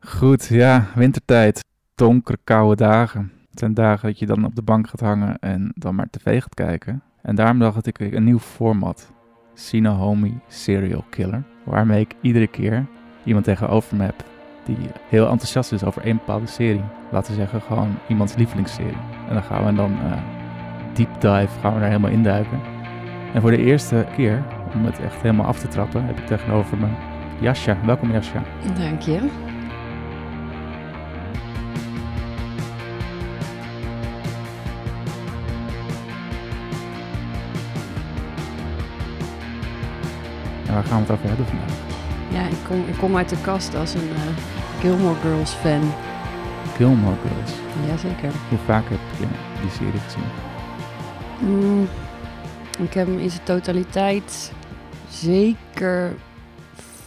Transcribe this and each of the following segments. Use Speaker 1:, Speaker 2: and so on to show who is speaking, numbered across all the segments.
Speaker 1: Goed, ja, wintertijd. Donkere, koude dagen. Het zijn dagen dat je dan op de bank gaat hangen en dan maar tv gaat kijken. En daarom dacht ik ik een nieuw format. Sinohomi Serial Killer. Waarmee ik iedere keer iemand tegenover me heb die heel enthousiast is over één bepaalde serie. Laten we zeggen gewoon iemands lievelingsserie. En dan gaan we dan eh, deep dive, gaan we daar helemaal induiken. En voor de eerste keer, om het echt helemaal af te trappen, heb ik tegenover me Jascha. Welkom Jascha.
Speaker 2: Dank je.
Speaker 1: En waar gaan we het over hebben vandaag?
Speaker 2: Ja, ik kom, ik kom uit de kast als een eh, Gilmore Girls fan.
Speaker 1: Gilmore Girls.
Speaker 2: Jazeker.
Speaker 1: Hoe vaak heb je die serie gezien?
Speaker 2: Mm, ik heb hem in zijn totaliteit zeker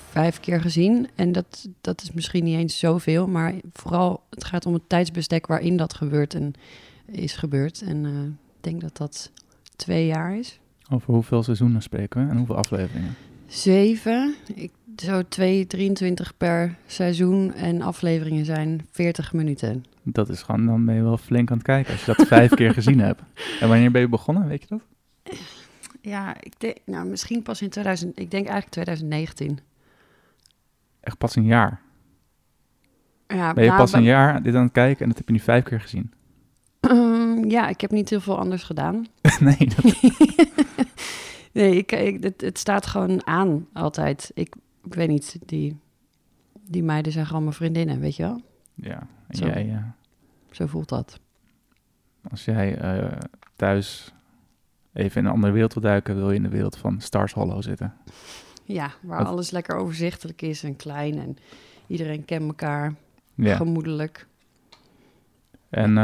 Speaker 2: vijf keer gezien. En dat, dat is misschien niet eens zoveel, maar vooral het gaat om het tijdsbestek waarin dat gebeurt en is gebeurd. En eh, ik denk dat dat twee jaar is.
Speaker 1: Over hoeveel seizoenen spreken we en hoeveel afleveringen?
Speaker 2: Zeven, ik, zo 2, 23 per seizoen en afleveringen zijn 40 minuten.
Speaker 1: Dat is gewoon, dan ben je wel flink aan het kijken als je dat vijf keer gezien hebt. En wanneer ben je begonnen, weet je dat?
Speaker 2: Ja, ik denk, nou, misschien pas in 2000, ik denk eigenlijk 2019.
Speaker 1: Echt pas een jaar.
Speaker 2: Ja,
Speaker 1: Ben je
Speaker 2: nou,
Speaker 1: pas een
Speaker 2: ba-
Speaker 1: jaar dit aan het kijken en dat heb je nu vijf keer gezien?
Speaker 2: Ehm, ja, ik heb niet heel veel anders gedaan.
Speaker 1: nee, dat,
Speaker 2: Nee, ik, ik, het, het staat gewoon aan altijd. Ik, ik weet niet, die, die meiden zijn gewoon mijn vriendinnen, weet je wel?
Speaker 1: ja. En
Speaker 2: Zo.
Speaker 1: jij, eh,
Speaker 2: Zo voelt dat.
Speaker 1: als jij eh, thuis even in een andere wereld wil duiken, wil je in de wereld van Stars Hollow zitten.
Speaker 2: Ja, waar
Speaker 1: Wat-
Speaker 2: alles lekker overzichtelijk is en klein en iedereen kent elkaar,
Speaker 1: Ja.
Speaker 2: gemoedelijk.
Speaker 1: En eh,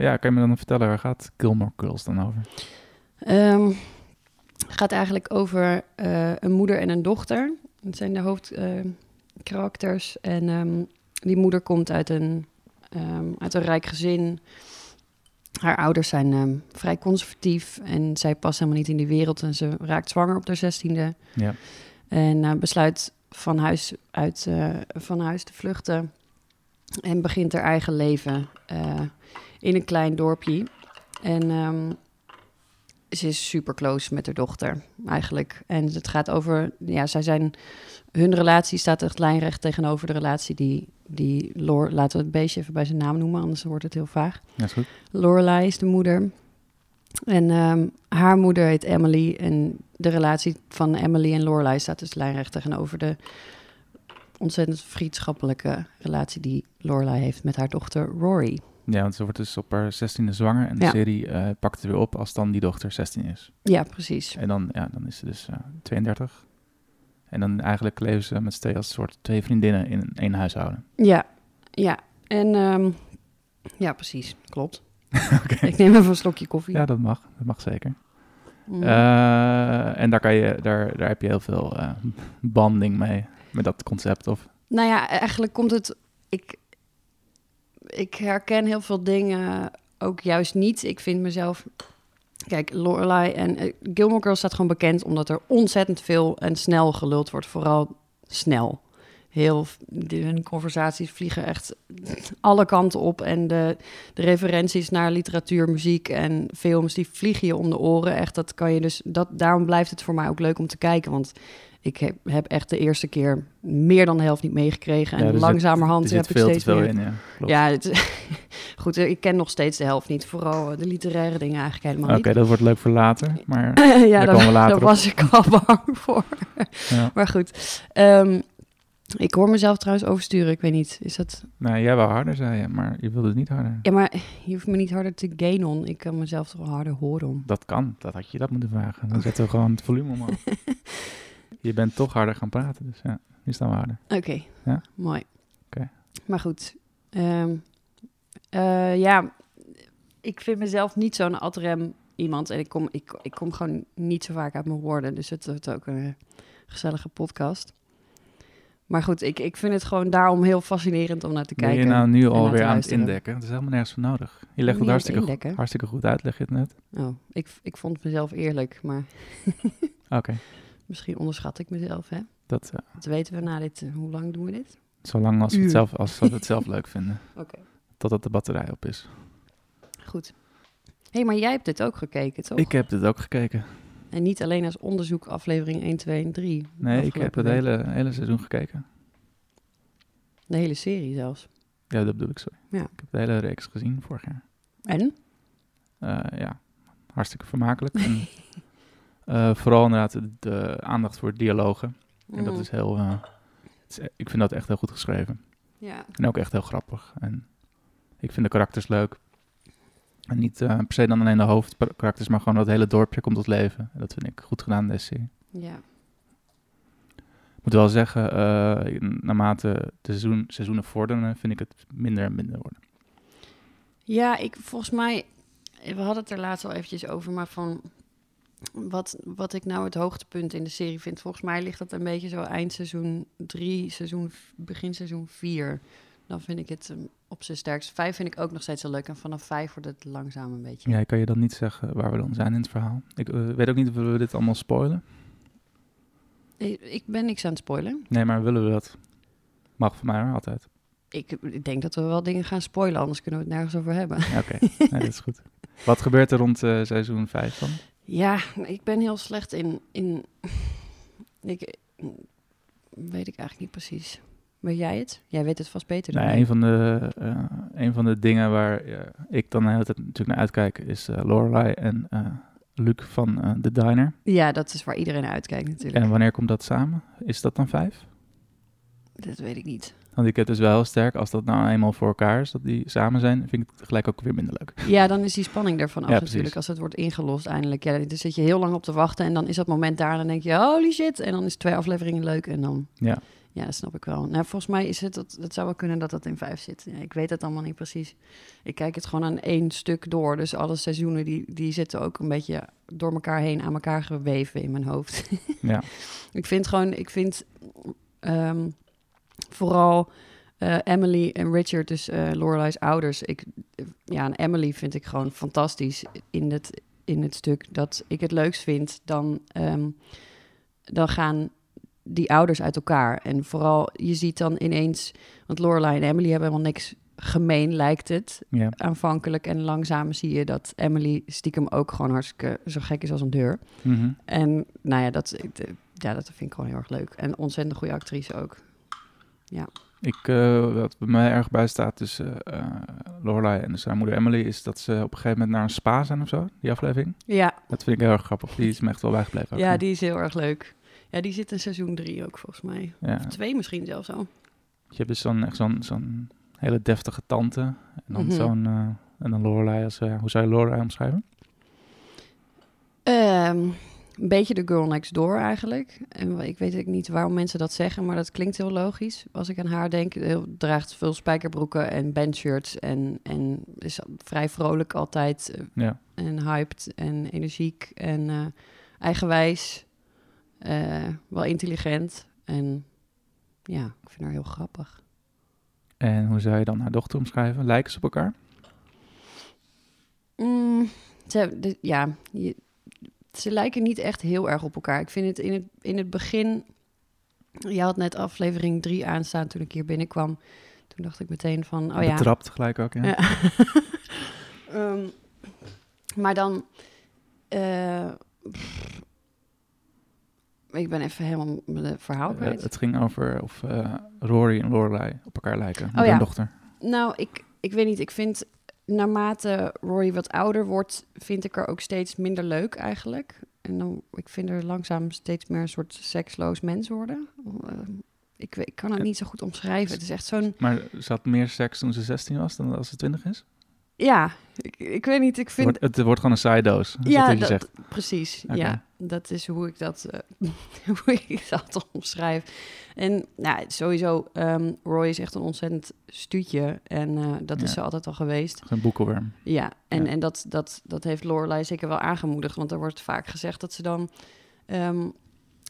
Speaker 1: ja, kan je me dan vertellen, waar gaat Gilmore Girls dan over?
Speaker 2: Ehm, het gaat eigenlijk over eh, een moeder en een dochter. Dat zijn de hoofdkarakters. en ehm, die moeder komt uit een, ehm, uit een rijk gezin. Haar ouders zijn ehm, vrij conservatief en zij past helemaal niet in die wereld. En ze raakt zwanger op haar zestiende.
Speaker 1: Ja.
Speaker 2: En eh, besluit van huis, uit, eh, van huis te vluchten. En begint haar eigen leven eh, in een klein dorpje. En ehm, ze is super close met haar dochter, eigenlijk. En het gaat over, ja, zij zijn, hun relatie staat echt lijnrecht tegenover de relatie die, die Lore, laten we het beestje even bij zijn naam noemen, anders wordt het heel vaag.
Speaker 1: Ja, is goed.
Speaker 2: Lorelai is de moeder. En ehm, haar moeder heet Emily. En de relatie van Emily en Lorelai staat dus lijnrecht tegenover de ontzettend vriendschappelijke relatie die Lorelai heeft met haar dochter Rory.
Speaker 1: Ja, want ze wordt dus op haar zestiende zwanger en de
Speaker 2: Ja.
Speaker 1: serie eh, pakt het weer op als dan die dochter 16 is.
Speaker 2: Ja, precies.
Speaker 1: En dan, ja, dan is ze dus eh, 32. En dan eigenlijk leven ze met z'n tweeën als een soort twee vriendinnen in één huishouden.
Speaker 2: Ja, ja. En ehm, ja, precies. Klopt. Ik neem even een slokje koffie.
Speaker 1: Ja, dat mag. Dat mag zeker.
Speaker 2: Mm.
Speaker 1: Eh, en daar, kan je, daar, daar heb je heel veel eh, banding mee, met dat concept. Of,
Speaker 2: Nou ja, eigenlijk komt het. Ik, ik herken heel veel dingen ook juist niet. Ik vind mezelf. Kijk, Lorelai en eh, Gilmore Girls staat gewoon bekend omdat er ontzettend veel en snel geluld wordt. Vooral snel. Heel, de- hun conversaties vliegen echt alle kanten op. En de, de referenties naar literatuur, muziek en films, die vliegen je om de oren. Echt, dat kan je dus. Dat, daarom blijft het voor mij ook leuk om te kijken. Want ik heb, heb echt de eerste keer meer dan de helft niet meegekregen. En
Speaker 1: Ja, er zit- er
Speaker 2: langzamerhand
Speaker 1: zit
Speaker 2: heb ik
Speaker 1: veel te
Speaker 2: steeds
Speaker 1: veel
Speaker 2: meer.
Speaker 1: in. Ja, klopt.
Speaker 2: Ja, het, goed, ik ken nog steeds de helft niet. Vooral eh, de literaire dingen eigenlijk helemaal
Speaker 1: Oké,
Speaker 2: niet.
Speaker 1: dat wordt leuk voor later. Maar
Speaker 2: ja,
Speaker 1: daar
Speaker 2: daar,
Speaker 1: komen we later
Speaker 2: daar
Speaker 1: op.
Speaker 2: was ik al bang voor.
Speaker 1: Ja.
Speaker 2: Maar goed, ehm, ik hoor mezelf trouwens oversturen. Ik weet niet, is dat...
Speaker 1: nou, jij wou harder, zei je, maar je wilde het niet harder.
Speaker 2: Ja, maar je hoeft me niet harder te gainen. Ik kan mezelf toch wel harder horen.
Speaker 1: Dat kan, dat had je dat moeten vragen. Dan zetten we gewoon het volume omhoog. je bent toch harder gaan praten, dus ja, nu staan we harder.
Speaker 2: Oké,
Speaker 1: Ja?
Speaker 2: mooi.
Speaker 1: Oké.
Speaker 2: Maar goed, ehm, eh, ja, ik vind mezelf niet zo'n adrem iemand. En ik kom, ik, ik kom gewoon niet zo vaak uit mijn woorden. Dus het wordt ook een gezellige podcast. Maar goed, ik, ik vind het gewoon daarom heel fascinerend om naar te
Speaker 1: Ben
Speaker 2: kijken.
Speaker 1: je nou nu
Speaker 2: naar
Speaker 1: alweer
Speaker 2: te
Speaker 1: aan het
Speaker 2: luisteren.
Speaker 1: indekken? Het is helemaal nergens voor nodig. Je legt
Speaker 2: Niet
Speaker 1: het hartstikke,
Speaker 2: indekken.
Speaker 1: goed- hartstikke goed uit, leg je het net.
Speaker 2: Oh, ik, ik vond mezelf eerlijk, maar
Speaker 1: Oké,
Speaker 2: misschien onderschat ik mezelf, hè?
Speaker 1: dat... eh,
Speaker 2: Dat weten we na dit. eh, Hoe lang doen we dit?
Speaker 1: Zolang als we het
Speaker 2: Uur.
Speaker 1: zelf, als we het zelf leuk vinden.
Speaker 2: Oké.
Speaker 1: Totdat de batterij op is.
Speaker 2: Goed. Hé, maar jij hebt dit ook gekeken, toch?
Speaker 1: Ik heb dit ook gekeken.
Speaker 2: En niet alleen als onderzoek aflevering 1, 2 en 3.
Speaker 1: Nee, ik heb
Speaker 2: Afgelopen
Speaker 1: het
Speaker 2: week.
Speaker 1: hele, hele seizoen gekeken.
Speaker 2: De hele serie zelfs.
Speaker 1: Ja, dat bedoel ik, sorry.
Speaker 2: Ja.
Speaker 1: Ik heb de hele reeks gezien vorig jaar.
Speaker 2: En?
Speaker 1: Eh, ja, hartstikke vermakelijk. En, eh, vooral inderdaad de, de aandacht voor dialogen. En dat
Speaker 2: Mm.
Speaker 1: is heel... eh, het is- ik vind dat echt heel goed geschreven.
Speaker 2: Ja.
Speaker 1: En ook echt heel grappig. En ik vind de karakters leuk. En niet eh, per se dan alleen de hoofdkarakters, maar gewoon dat hele dorpje komt tot leven. En dat vind ik goed gedaan in deze serie.
Speaker 2: Ja.
Speaker 1: Ik moet wel zeggen, eh, naarmate de seizoen, seizoenen vorderen, vind ik het minder en minder worden.
Speaker 2: Ja, ik volgens mij, we hadden het er laatst al eventjes over, maar van wat, wat ik nou het hoogtepunt in de serie vind, volgens mij ligt dat een beetje zo eind seizoen 3, seizoen, v- begin seizoen 4. Dan vind ik het ehm, op zijn sterkst. Vijf vind ik ook nog steeds heel leuk en vanaf vijf wordt het langzaam een beetje.
Speaker 1: Ja, kan je dan niet zeggen waar we dan zijn in het verhaal? Ik eh, weet ook niet of we dit allemaal spoilen.
Speaker 2: Ik, ik ben niks aan het spoilen.
Speaker 1: Nee, maar willen we dat? Mag voor mij hoor, altijd.
Speaker 2: Ik, ik denk dat we wel dingen gaan spoilen, anders kunnen we het nergens over hebben.
Speaker 1: Ja, Oké, nee, dat is goed. Wat gebeurt er rond eh, seizoen 5 dan?
Speaker 2: Ja, ik ben heel slecht in. in ik, weet ik eigenlijk niet precies. Weet jij het? Jij weet het vast beter dan
Speaker 1: Nou,
Speaker 2: ik.
Speaker 1: een, van de, eh, een van de dingen waar eh, ik dan de hele tijd natuurlijk naar uitkijk is eh Lorelai en eh, Luc van eh, de Diner.
Speaker 2: Ja, dat is waar iedereen naar uitkijkt natuurlijk.
Speaker 1: En wanneer komt dat samen? Is dat dan 5?
Speaker 2: Dat weet ik niet.
Speaker 1: Want ik heb dus wel heel sterk, als dat nou eenmaal voor elkaar is, dat die samen zijn, vind ik het gelijk ook weer minder leuk.
Speaker 2: Ja, dan is die spanning ervan af
Speaker 1: Ja, precies.
Speaker 2: natuurlijk. Als het wordt ingelost eindelijk. Ja, dus zit je heel lang op te wachten. En dan is dat moment daar. En dan denk je, holy shit. En dan is twee afleveringen leuk. En dan...
Speaker 1: Ja.
Speaker 2: Ja, dat snap ik wel. Nou, volgens mij is het... Dat, dat zou wel kunnen dat dat in vijf zit. Ja, ik weet het allemaal niet precies. Ik kijk het gewoon aan één stuk door. Dus alle seizoenen die, die zitten ook een beetje door elkaar heen... aan elkaar geweven in mijn hoofd.
Speaker 1: Ja.
Speaker 2: Ik vind gewoon, ik vind ehm, vooral eh, Emily en Richard, dus eh Lorelei's ouders. Ik, ja, en Emily vind ik gewoon fantastisch in het, in het stuk dat ik het leukst vind. Dan, ehm, dan gaan die ouders uit elkaar. En vooral, je ziet dan ineens, want Lorelai en Emily hebben helemaal niks gemeen, lijkt het
Speaker 1: Ja,
Speaker 2: aanvankelijk. En langzaam zie je dat Emily stiekem ook gewoon hartstikke zo gek is als een deur.
Speaker 1: Mhm.
Speaker 2: En nou ja, dat, ja, dat vind ik gewoon heel erg leuk. En ontzettend goede actrice ook.
Speaker 1: ik, eh, wat bij mij erg bij staat tussen eh Lorelai en dus haar moeder Emily, is dat ze op een gegeven moment naar een spa zijn of zo, die aflevering.
Speaker 2: Ja,
Speaker 1: Dat vind ik heel erg grappig. Die is me echt wel bijgebleven. ook.
Speaker 2: ja die is heel erg leuk. Ja, die zit in seizoen drie ook volgens mij.
Speaker 1: Ja.
Speaker 2: Of twee misschien zelfs al.
Speaker 1: Je hebt dus zo'n echt zo'n zo'n hele deftige tante. En dan
Speaker 2: Mhm.
Speaker 1: zo'n. eh, en dan Lorelei als. eh, hoe zou je Lorelei omschrijven?
Speaker 2: Ehm, een beetje de girl next door eigenlijk. En wa- ik weet ook niet waarom mensen dat zeggen, maar dat klinkt heel logisch. Als ik aan haar denk, heel, draagt veel spijkerbroeken en bandshirts en, en is vrij vrolijk altijd eh,
Speaker 1: Ja.
Speaker 2: en hyped en energiek en eh, eigenwijs, eh, wel intelligent en ja, ik vind haar heel grappig.
Speaker 1: En hoe zou je dan haar dochter omschrijven? Lijken ze op elkaar?
Speaker 2: Mm, ze, de- ja, je- ze lijken niet echt heel erg op elkaar. Ik vind het in het, in het begin. Je had net aflevering 3 aanstaan toen ik hier binnenkwam. Toen dacht ik meteen van, oh ja.
Speaker 1: Betrapt gelijk ook, ja.
Speaker 2: Ja. Ehm, maar dan. eh, pff, ik ben even helemaal mijn verhaal
Speaker 1: Eh,
Speaker 2: kwijt.
Speaker 1: het ging over of eh, Rory en Lorelei op elkaar lijken. met
Speaker 2: Oh, ja.
Speaker 1: hun dochter.
Speaker 2: Nou, ik, ik weet niet. Ik vind naarmate Rory wat ouder wordt, vind ik haar ook steeds minder leuk eigenlijk. En dan, ik vind haar langzaam steeds meer een soort seksloos mens worden. Eh, Ik, weet- ik kan het niet zo goed omschrijven. Het is echt zo'n
Speaker 1: Maar ze had meer seks toen ze 16 was dan als ze 20 is?
Speaker 2: Ja, ik, ik weet niet. Ik
Speaker 1: Het
Speaker 2: vind.
Speaker 1: wordt, het wordt gewoon een side-dose. is
Speaker 2: ja,
Speaker 1: wat je
Speaker 2: dat-
Speaker 1: zegt.
Speaker 2: precies.
Speaker 1: Oké.
Speaker 2: Ja, dat is hoe ik dat, eh, hoe ik dat omschrijf. En nou, sowieso, ehm, Roy is echt een ontzettend stuutje. En eh, dat is
Speaker 1: Ja.
Speaker 2: ze altijd al geweest.
Speaker 1: Geen boekenworm.
Speaker 2: Ja, en,
Speaker 1: Ja.
Speaker 2: en dat, dat, dat heeft Lorelai zeker wel aangemoedigd. Want er wordt vaak gezegd dat ze dan... ehm,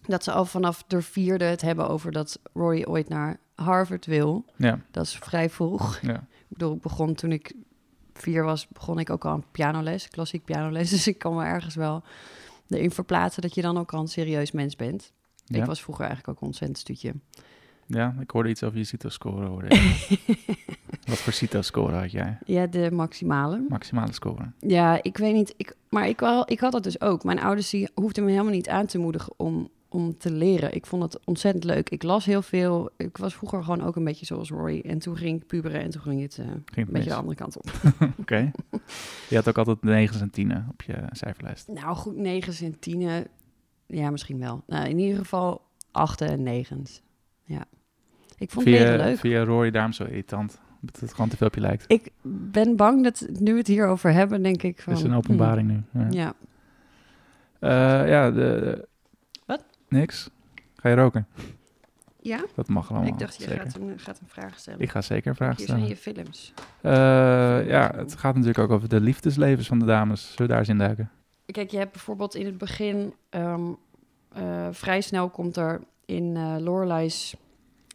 Speaker 2: dat ze al vanaf de vierde het hebben over dat Rory ooit naar Harvard wil.
Speaker 1: Ja,
Speaker 2: Dat is vrij vroeg.
Speaker 1: ja.
Speaker 2: Ik bedoel, ik begon toen ik vier was, begon ik ook al aan pianoles, klassiek pianoles. Dus ik kan me ergens wel erin verplaatsen dat je dan ook al een serieus mens bent.
Speaker 1: ja.
Speaker 2: Ik was vroeger eigenlijk ook een ontzettend stuutje.
Speaker 1: Ja, ik hoorde iets over je CITO-score. hoorde ik. Wat voor CITO-score had jij?
Speaker 2: Ja, de maximale.
Speaker 1: Maximale score.
Speaker 2: Ja, ik weet niet. Ik, maar ik, wel, ik had dat dus ook. Mijn ouders die hoefden me helemaal niet aan te moedigen om, om te leren. Ik vond het ontzettend leuk. Ik las heel veel. Ik was vroeger gewoon ook een beetje zoals Rory. En toen ging ik puberen en toen ging het eh,
Speaker 1: Ging
Speaker 2: een
Speaker 1: het mis?
Speaker 2: beetje de
Speaker 1: Oké.
Speaker 2: andere kant op.
Speaker 1: Je had ook altijd negens en tienen op je cijferlijst.
Speaker 2: Nou, goed, negens en tienen. Ja, misschien wel. Nou, in ieder geval achten en negens. Ja. Ik vond het
Speaker 1: via,
Speaker 2: negen leuk.
Speaker 1: Via Rory daarom zo irritant. Dat het gewoon te veel op je lijkt.
Speaker 2: Ik ben bang dat nu we het hierover hebben, denk ik van...
Speaker 1: Dat is een
Speaker 2: hmm,
Speaker 1: openbaring nu. Ja,
Speaker 2: ja.
Speaker 1: Eh, ja de,
Speaker 2: Wat?
Speaker 1: Niks. Ga je roken?
Speaker 2: Ja?
Speaker 1: Dat mag allemaal.
Speaker 2: ik dacht, je
Speaker 1: zeker.
Speaker 2: gaat een, gaat een vraag stellen.
Speaker 1: Ik ga zeker vragen
Speaker 2: Hier zijn
Speaker 1: stellen.
Speaker 2: je films.
Speaker 1: Eh, ja, het gaat natuurlijk ook over de liefdeslevens van de dames. Zullen we daar eens in duiken?
Speaker 2: Kijk, je hebt bijvoorbeeld in het begin... ehm, eh, vrij snel komt er in eh Lorelei's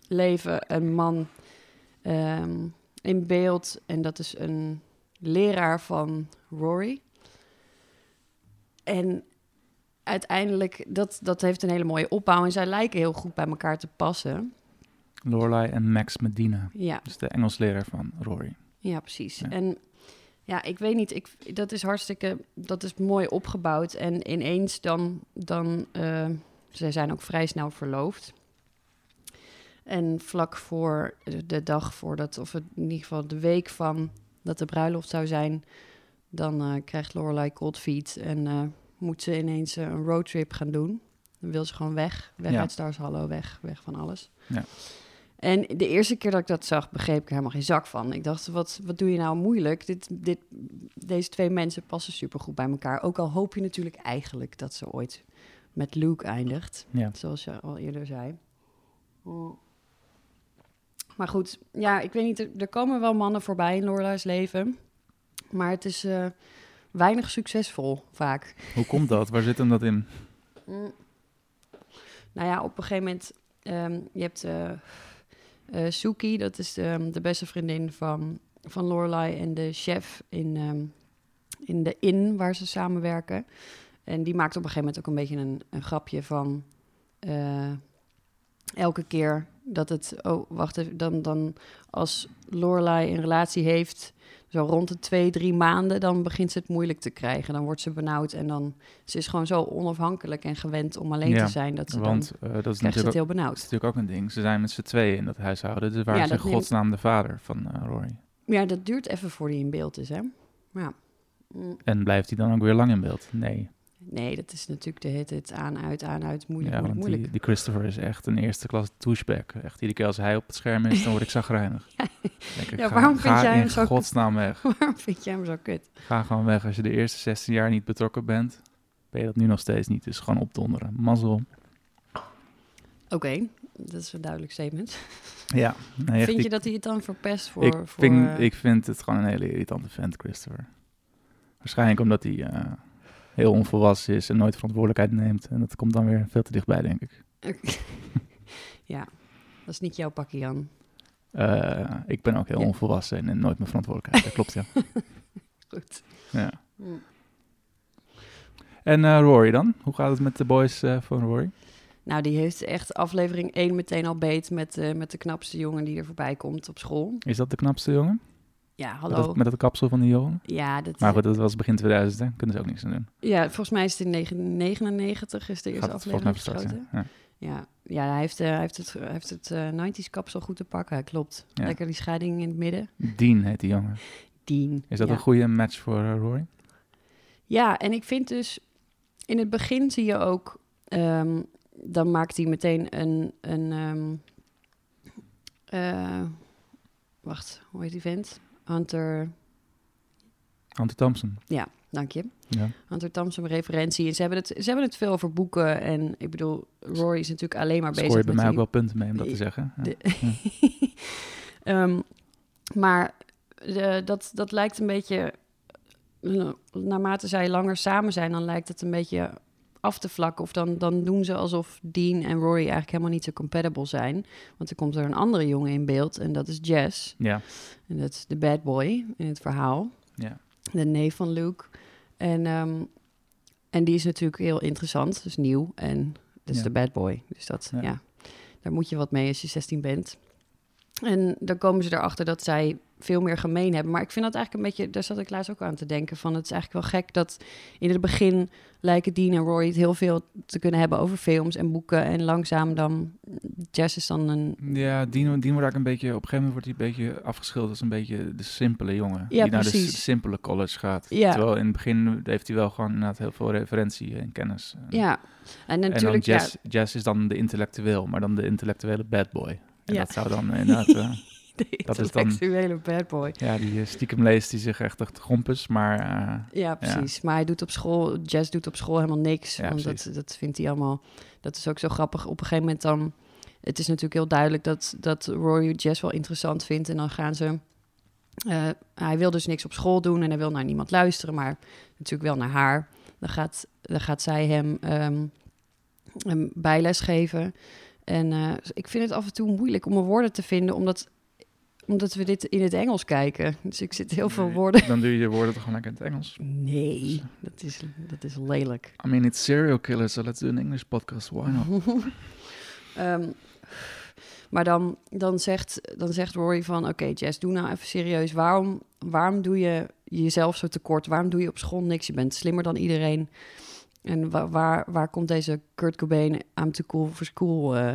Speaker 2: leven een man ehm, in beeld. En dat is een leraar van Rory. En uiteindelijk, dat, dat heeft een hele mooie opbouw. En zij lijken heel goed bij elkaar te passen.
Speaker 1: Lorelai en Max Medina.
Speaker 2: Ja.
Speaker 1: Dus de Engelsleraar van Rory.
Speaker 2: Ja, precies.
Speaker 1: Ja.
Speaker 2: En ja, ik weet niet, ik, dat is hartstikke, dat is mooi opgebouwd. En ineens dan, dan eh, zij zijn ook vrij snel verloofd. En vlak voor de- de dag voordat, of in ieder geval de week van dat de bruiloft zou zijn, dan eh, krijgt Lorelai cold feet en eh, moet ze ineens eh, een roadtrip gaan doen. Dan wil ze gewoon weg, weg
Speaker 1: Ja.
Speaker 2: uit Stars Hollow, weg, weg van alles.
Speaker 1: Ja.
Speaker 2: En de eerste keer dat ik dat zag, begreep ik er helemaal geen zak van. Ik dacht, wat, wat doe je nou moeilijk? Dit, dit, deze twee mensen passen supergoed bij elkaar. Ook al hoop je natuurlijk eigenlijk dat ze ooit met Luke eindigt.
Speaker 1: Ja.
Speaker 2: Zoals je al eerder zei. Mm. Maar goed, ja, ik weet niet. Er, er komen wel mannen voorbij in Lorela's leven. Maar het is eh, weinig succesvol vaak.
Speaker 1: Hoe komt dat? Waar zit hem dat in?
Speaker 2: Mm. Nou ja, op een gegeven moment... ehm, je hebt eh, eh, Suki, dat is ehm, de, de beste vriendin van, van Lorelai... en de chef in, ehm, in de inn waar ze samenwerken. En die maakt op een gegeven moment ook een beetje een, een grapje van... eh, elke keer dat het... Oh, wacht even. Dan, dan als Lorelai een relatie heeft... Zo rond de twee, drie maanden, dan begint ze het moeilijk te krijgen. Dan wordt ze benauwd en dan... Ze is gewoon zo onafhankelijk en gewend om alleen
Speaker 1: Ja,
Speaker 2: te zijn... dat ze Dus dan
Speaker 1: Want eh, dat is
Speaker 2: krijgt ze het
Speaker 1: natuurlijk, ook,
Speaker 2: heel benauwd.
Speaker 1: dat is natuurlijk ook een ding. Ze zijn met z'n tweeën in dat huishouden. Dus waar
Speaker 2: Ja,
Speaker 1: is in
Speaker 2: dat neemt-
Speaker 1: godsnaam de vader van eh, Rory?
Speaker 2: Ja, dat duurt even voor die in beeld is, hè? Ja. Mm.
Speaker 1: En blijft hij dan ook weer lang in beeld? Nee.
Speaker 2: Nee, dat is natuurlijk de hit, het aan, uit, aan, uit, moeilijk,
Speaker 1: ja, want
Speaker 2: moeilijk, moeilijk.
Speaker 1: Die, die Christopher is echt een eerste klas douchebag. Echt iedere keer als hij op het scherm is, dan word ik zagrijnig. Dan denk ik,
Speaker 2: Ja,
Speaker 1: ga-
Speaker 2: waarom
Speaker 1: ga
Speaker 2: vind jij
Speaker 1: in
Speaker 2: hem zo-
Speaker 1: godsnaam weg.
Speaker 2: Waarom vind jij hem zo kut?
Speaker 1: Ga gewoon weg. Als je de eerste 16 jaar niet betrokken bent, ben je dat nu nog steeds niet. Dus gewoon opdonderen. Mazzel.
Speaker 2: Oké, dat is een duidelijk statement.
Speaker 1: Nou Ja. Nee, echt,
Speaker 2: vind je
Speaker 1: ik,
Speaker 2: dat hij het dan verpest voor...
Speaker 1: ik,
Speaker 2: voor
Speaker 1: vind,
Speaker 2: eh,
Speaker 1: ik vind het gewoon een hele irritante vent, Christopher. Waarschijnlijk omdat hij eh, heel onvolwassen is en nooit verantwoordelijkheid neemt. En dat komt dan weer veel te dichtbij, denk ik.
Speaker 2: ja, dat is niet jouw pakje, Jan.
Speaker 1: Eh, ik ben ook heel
Speaker 2: Ja.
Speaker 1: onvolwassen en, en nooit mijn verantwoordelijkheid. Dat klopt, ja.
Speaker 2: Goed.
Speaker 1: ja.
Speaker 2: Mm.
Speaker 1: Hm. En eh, Rory dan? Hoe gaat het met de boys eh, van Rory?
Speaker 2: Nou, die heeft echt aflevering 1 meteen al beet met, eh, met de knapste jongen die er voorbij komt op school.
Speaker 1: Is dat de knapste jongen?
Speaker 2: Ja,
Speaker 1: Met
Speaker 2: hallo.
Speaker 1: dat, met dat kapsel van die jongen?
Speaker 2: Ja, dat,
Speaker 1: Maar goed, dat was begin 2000, hè? Kunnen ze ook niks aan doen.
Speaker 2: ja, volgens mij is het in 1999 is de eerste
Speaker 1: Gaat het volgens mij
Speaker 2: aflevering
Speaker 1: verstrakt
Speaker 2: geschoten.
Speaker 1: zijn. Ja.
Speaker 2: Ja, ja hij heeft, eh, hij heeft het, hij heeft het eh 90s kapsel goed te pakken, klopt.
Speaker 1: Ja.
Speaker 2: Lekker die scheiding in het midden.
Speaker 1: Dean heet die jongen.
Speaker 2: Dien.
Speaker 1: Is dat
Speaker 2: ja.
Speaker 1: een goede match voor eh, Rory?
Speaker 2: Ja, en ik vind dus... In het begin zie je ook... ehm, dan maakt hij meteen een... een ehm, eh, wacht, hoe heet die vent? Hunter...
Speaker 1: Hunter Thompson.
Speaker 2: Ja, dank je.
Speaker 1: Ja.
Speaker 2: Hunter Thompson referentie. En ze hebben, het, ze hebben het veel over boeken. En ik bedoel, Rory is natuurlijk alleen maar bezig
Speaker 1: Scoor je bij
Speaker 2: met
Speaker 1: mij ook
Speaker 2: die-
Speaker 1: wel punten mee om dat te zeggen. Ja.
Speaker 2: De- Ehm, maar de- dat, dat lijkt een beetje, eh, naarmate zij langer samen zijn, dan lijkt het een beetje af te vlakken. Of dan, dan doen ze alsof Dean en Rory eigenlijk helemaal niet zo compatible zijn. Want er komt er een andere jongen in beeld en dat is Jess.
Speaker 1: ja.
Speaker 2: En dat is de bad boy in het verhaal.
Speaker 1: Ja.
Speaker 2: De neef van Luke. En, ehm, en die is natuurlijk heel interessant. Dus nieuw. En dat is
Speaker 1: Ja.
Speaker 2: de bad boy. Dus dat,
Speaker 1: Ja.
Speaker 2: ja. Daar moet je wat mee als je 16 bent. En dan komen ze erachter dat zij veel meer gemeen hebben. Maar ik vind dat eigenlijk een beetje, daar zat ik laatst ook aan te denken, van het is eigenlijk wel gek dat in het begin lijken Dean en Roy het heel veel te kunnen hebben over films en boeken. En langzaam dan, Jess is dan een...
Speaker 1: Ja, Dino, Dino wordt eigenlijk een beetje, op een gegeven moment wordt hij een beetje afgeschilderd als een beetje de simpele jongen.
Speaker 2: Ja,
Speaker 1: die naar de
Speaker 2: precies.
Speaker 1: s- simpele college gaat.
Speaker 2: Ja.
Speaker 1: Terwijl in het begin heeft hij wel gewoon inderdaad heel veel referentie en kennis. En-
Speaker 2: Ja, en
Speaker 1: En dan
Speaker 2: natuurlijk... ja,
Speaker 1: Jess, Jess is dan de intellectueel, maar dan de intellectuele bad boy. En
Speaker 2: Ja.
Speaker 1: dat zou dan inderdaad... eh,
Speaker 2: de
Speaker 1: dat is dan-
Speaker 2: intellectuele bad boy.
Speaker 1: ja, die eh, stiekem leest die zich echt achter de grond is, maar... eh,
Speaker 2: Ja, precies. Maar hij doet op school, Jazz doet op school helemaal niks.
Speaker 1: Ja,
Speaker 2: want dat,
Speaker 1: precies.
Speaker 2: dat vindt hij allemaal. Dat is ook zo grappig. Op een gegeven moment dan. Het is natuurlijk heel duidelijk dat, dat Rory Jazz wel interessant vindt. En dan gaan ze. eh, hij wil dus niks op school doen en hij wil naar niemand luisteren, maar natuurlijk wel naar haar. Dan gaat, dan gaat zij hem, ehm, hem bijles geven. En eh, ik vind het af en toe moeilijk om mijn woorden te vinden, omdat, omdat we dit in het Engels kijken. Dus ik zit heel veel woorden.
Speaker 1: Dan doe je je woorden toch gewoon lekker in het Engels.
Speaker 2: Nee, dat is, dat is lelijk.
Speaker 1: I mean, it's serial killer, so let's do an English podcast. Why not?
Speaker 2: Ehm, maar dan, dan, zegt, dan zegt Rory van... Oké, Jess, doe nou even serieus. Waarom, waarom doe je jezelf zo tekort? Waarom doe je op school niks? Je bent slimmer dan iedereen. En wa- waar, waar komt deze Kurt Cobain... I'm too cool for school... eh,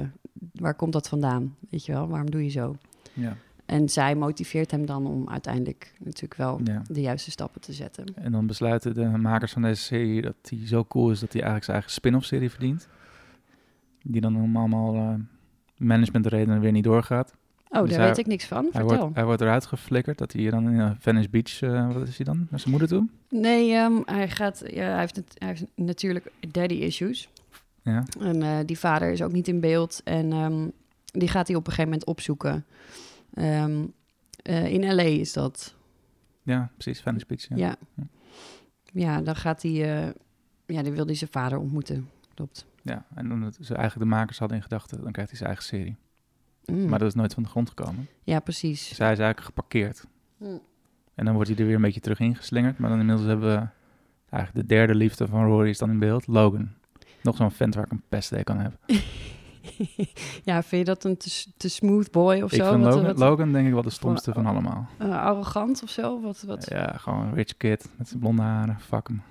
Speaker 2: waar komt dat vandaan? Weet je wel, waarom doe je zo?
Speaker 1: Ja.
Speaker 2: En zij motiveert hem dan om uiteindelijk natuurlijk wel...
Speaker 1: ja.
Speaker 2: de juiste stappen te zetten.
Speaker 1: En dan besluiten de makers van deze serie dat hij zo cool is dat hij eigenlijk zijn eigen spin-off serie verdient. Die dan om allemaal eh, managementredenen weer niet doorgaat.
Speaker 2: Oh,
Speaker 1: Dus
Speaker 2: daar
Speaker 1: hij-
Speaker 2: weet ik niks van.
Speaker 1: Hij
Speaker 2: Vertel.
Speaker 1: wordt, hij wordt eruit geflikkerd dat hij hier dan in eh, Venice Beach, eh, wat is hij dan, naar zijn moeder toe?
Speaker 2: Nee, ehm, hij, gaat, ja, hij, heeft, nat- hij heeft natuurlijk daddy issues.
Speaker 1: Ja.
Speaker 2: En eh, die vader is ook niet in beeld. En ehm, die gaat hij op een gegeven moment opzoeken. Ehm, eh, in L.A. is dat.
Speaker 1: ja, precies, Venice Beach. Ja.
Speaker 2: Ja. Ja, dan gaat hij... eh, ja, dan wil hij zijn vader ontmoeten. Klopt.
Speaker 1: Ja, En dan het- ze eigenlijk de makers hadden in gedachten, dan krijgt hij zijn eigen serie.
Speaker 2: Mm.
Speaker 1: Maar dat is nooit van de grond gekomen.
Speaker 2: Ja,
Speaker 1: Dus
Speaker 2: precies.
Speaker 1: hij is eigenlijk geparkeerd.
Speaker 2: Mm.
Speaker 1: En dan wordt hij er weer een beetje terug ingeslingerd. Maar dan inmiddels hebben we eigenlijk de derde liefde van Rory is dan in beeld. Logan. Nog zo'n vent waar ik een pestdek aan heb.
Speaker 2: ja, vind je dat een te, s- te smooth boy of
Speaker 1: ik
Speaker 2: zo?
Speaker 1: vind
Speaker 2: Wat-
Speaker 1: Logan,
Speaker 2: wat-
Speaker 1: Logan denk ik wel de stomste van allemaal.
Speaker 2: eh, arrogant of zo? Wat, wat?
Speaker 1: Ja, gewoon een rich kid met zijn blonde haren. Fuck hem.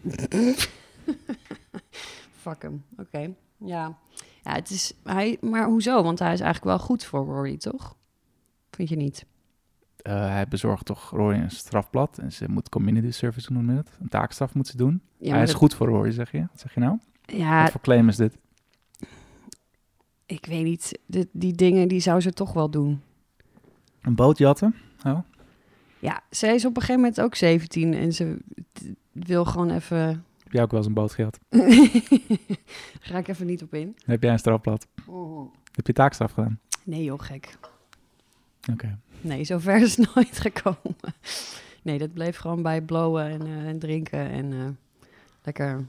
Speaker 2: Fuck hem. Oké. Ja. ja het is, hij, maar hoezo? Want hij is eigenlijk wel goed voor Rory, toch? Vind je niet?
Speaker 1: Eh, hij bezorgt toch Rory een strafblad. En ze moet community service noemen we het. Een taakstraf moet ze doen.
Speaker 2: Ja,
Speaker 1: hij
Speaker 2: maar
Speaker 1: is
Speaker 2: dat- Ah.
Speaker 1: goed voor Rory, zeg je? Wat zeg je nou?
Speaker 2: Ja,
Speaker 1: Wat voor claim is dit?
Speaker 2: ik weet niet. De- die dingen die zou ze toch wel doen.
Speaker 1: Een boot jatten? Oh.
Speaker 2: Ja, zij is op een gegeven moment ook 17 en ze t- wil gewoon even.
Speaker 1: Heb jij ook wel eens een boot gehad?
Speaker 2: Ga ik even niet op in.
Speaker 1: Heb jij een strafblad? Heb je taakstraf gedaan?
Speaker 2: Nee, joh, gek.
Speaker 1: Oké.
Speaker 2: Nee, zover is het nooit gekomen. Nee, dat bleef gewoon bij blowen en, eh, en drinken en eh, lekker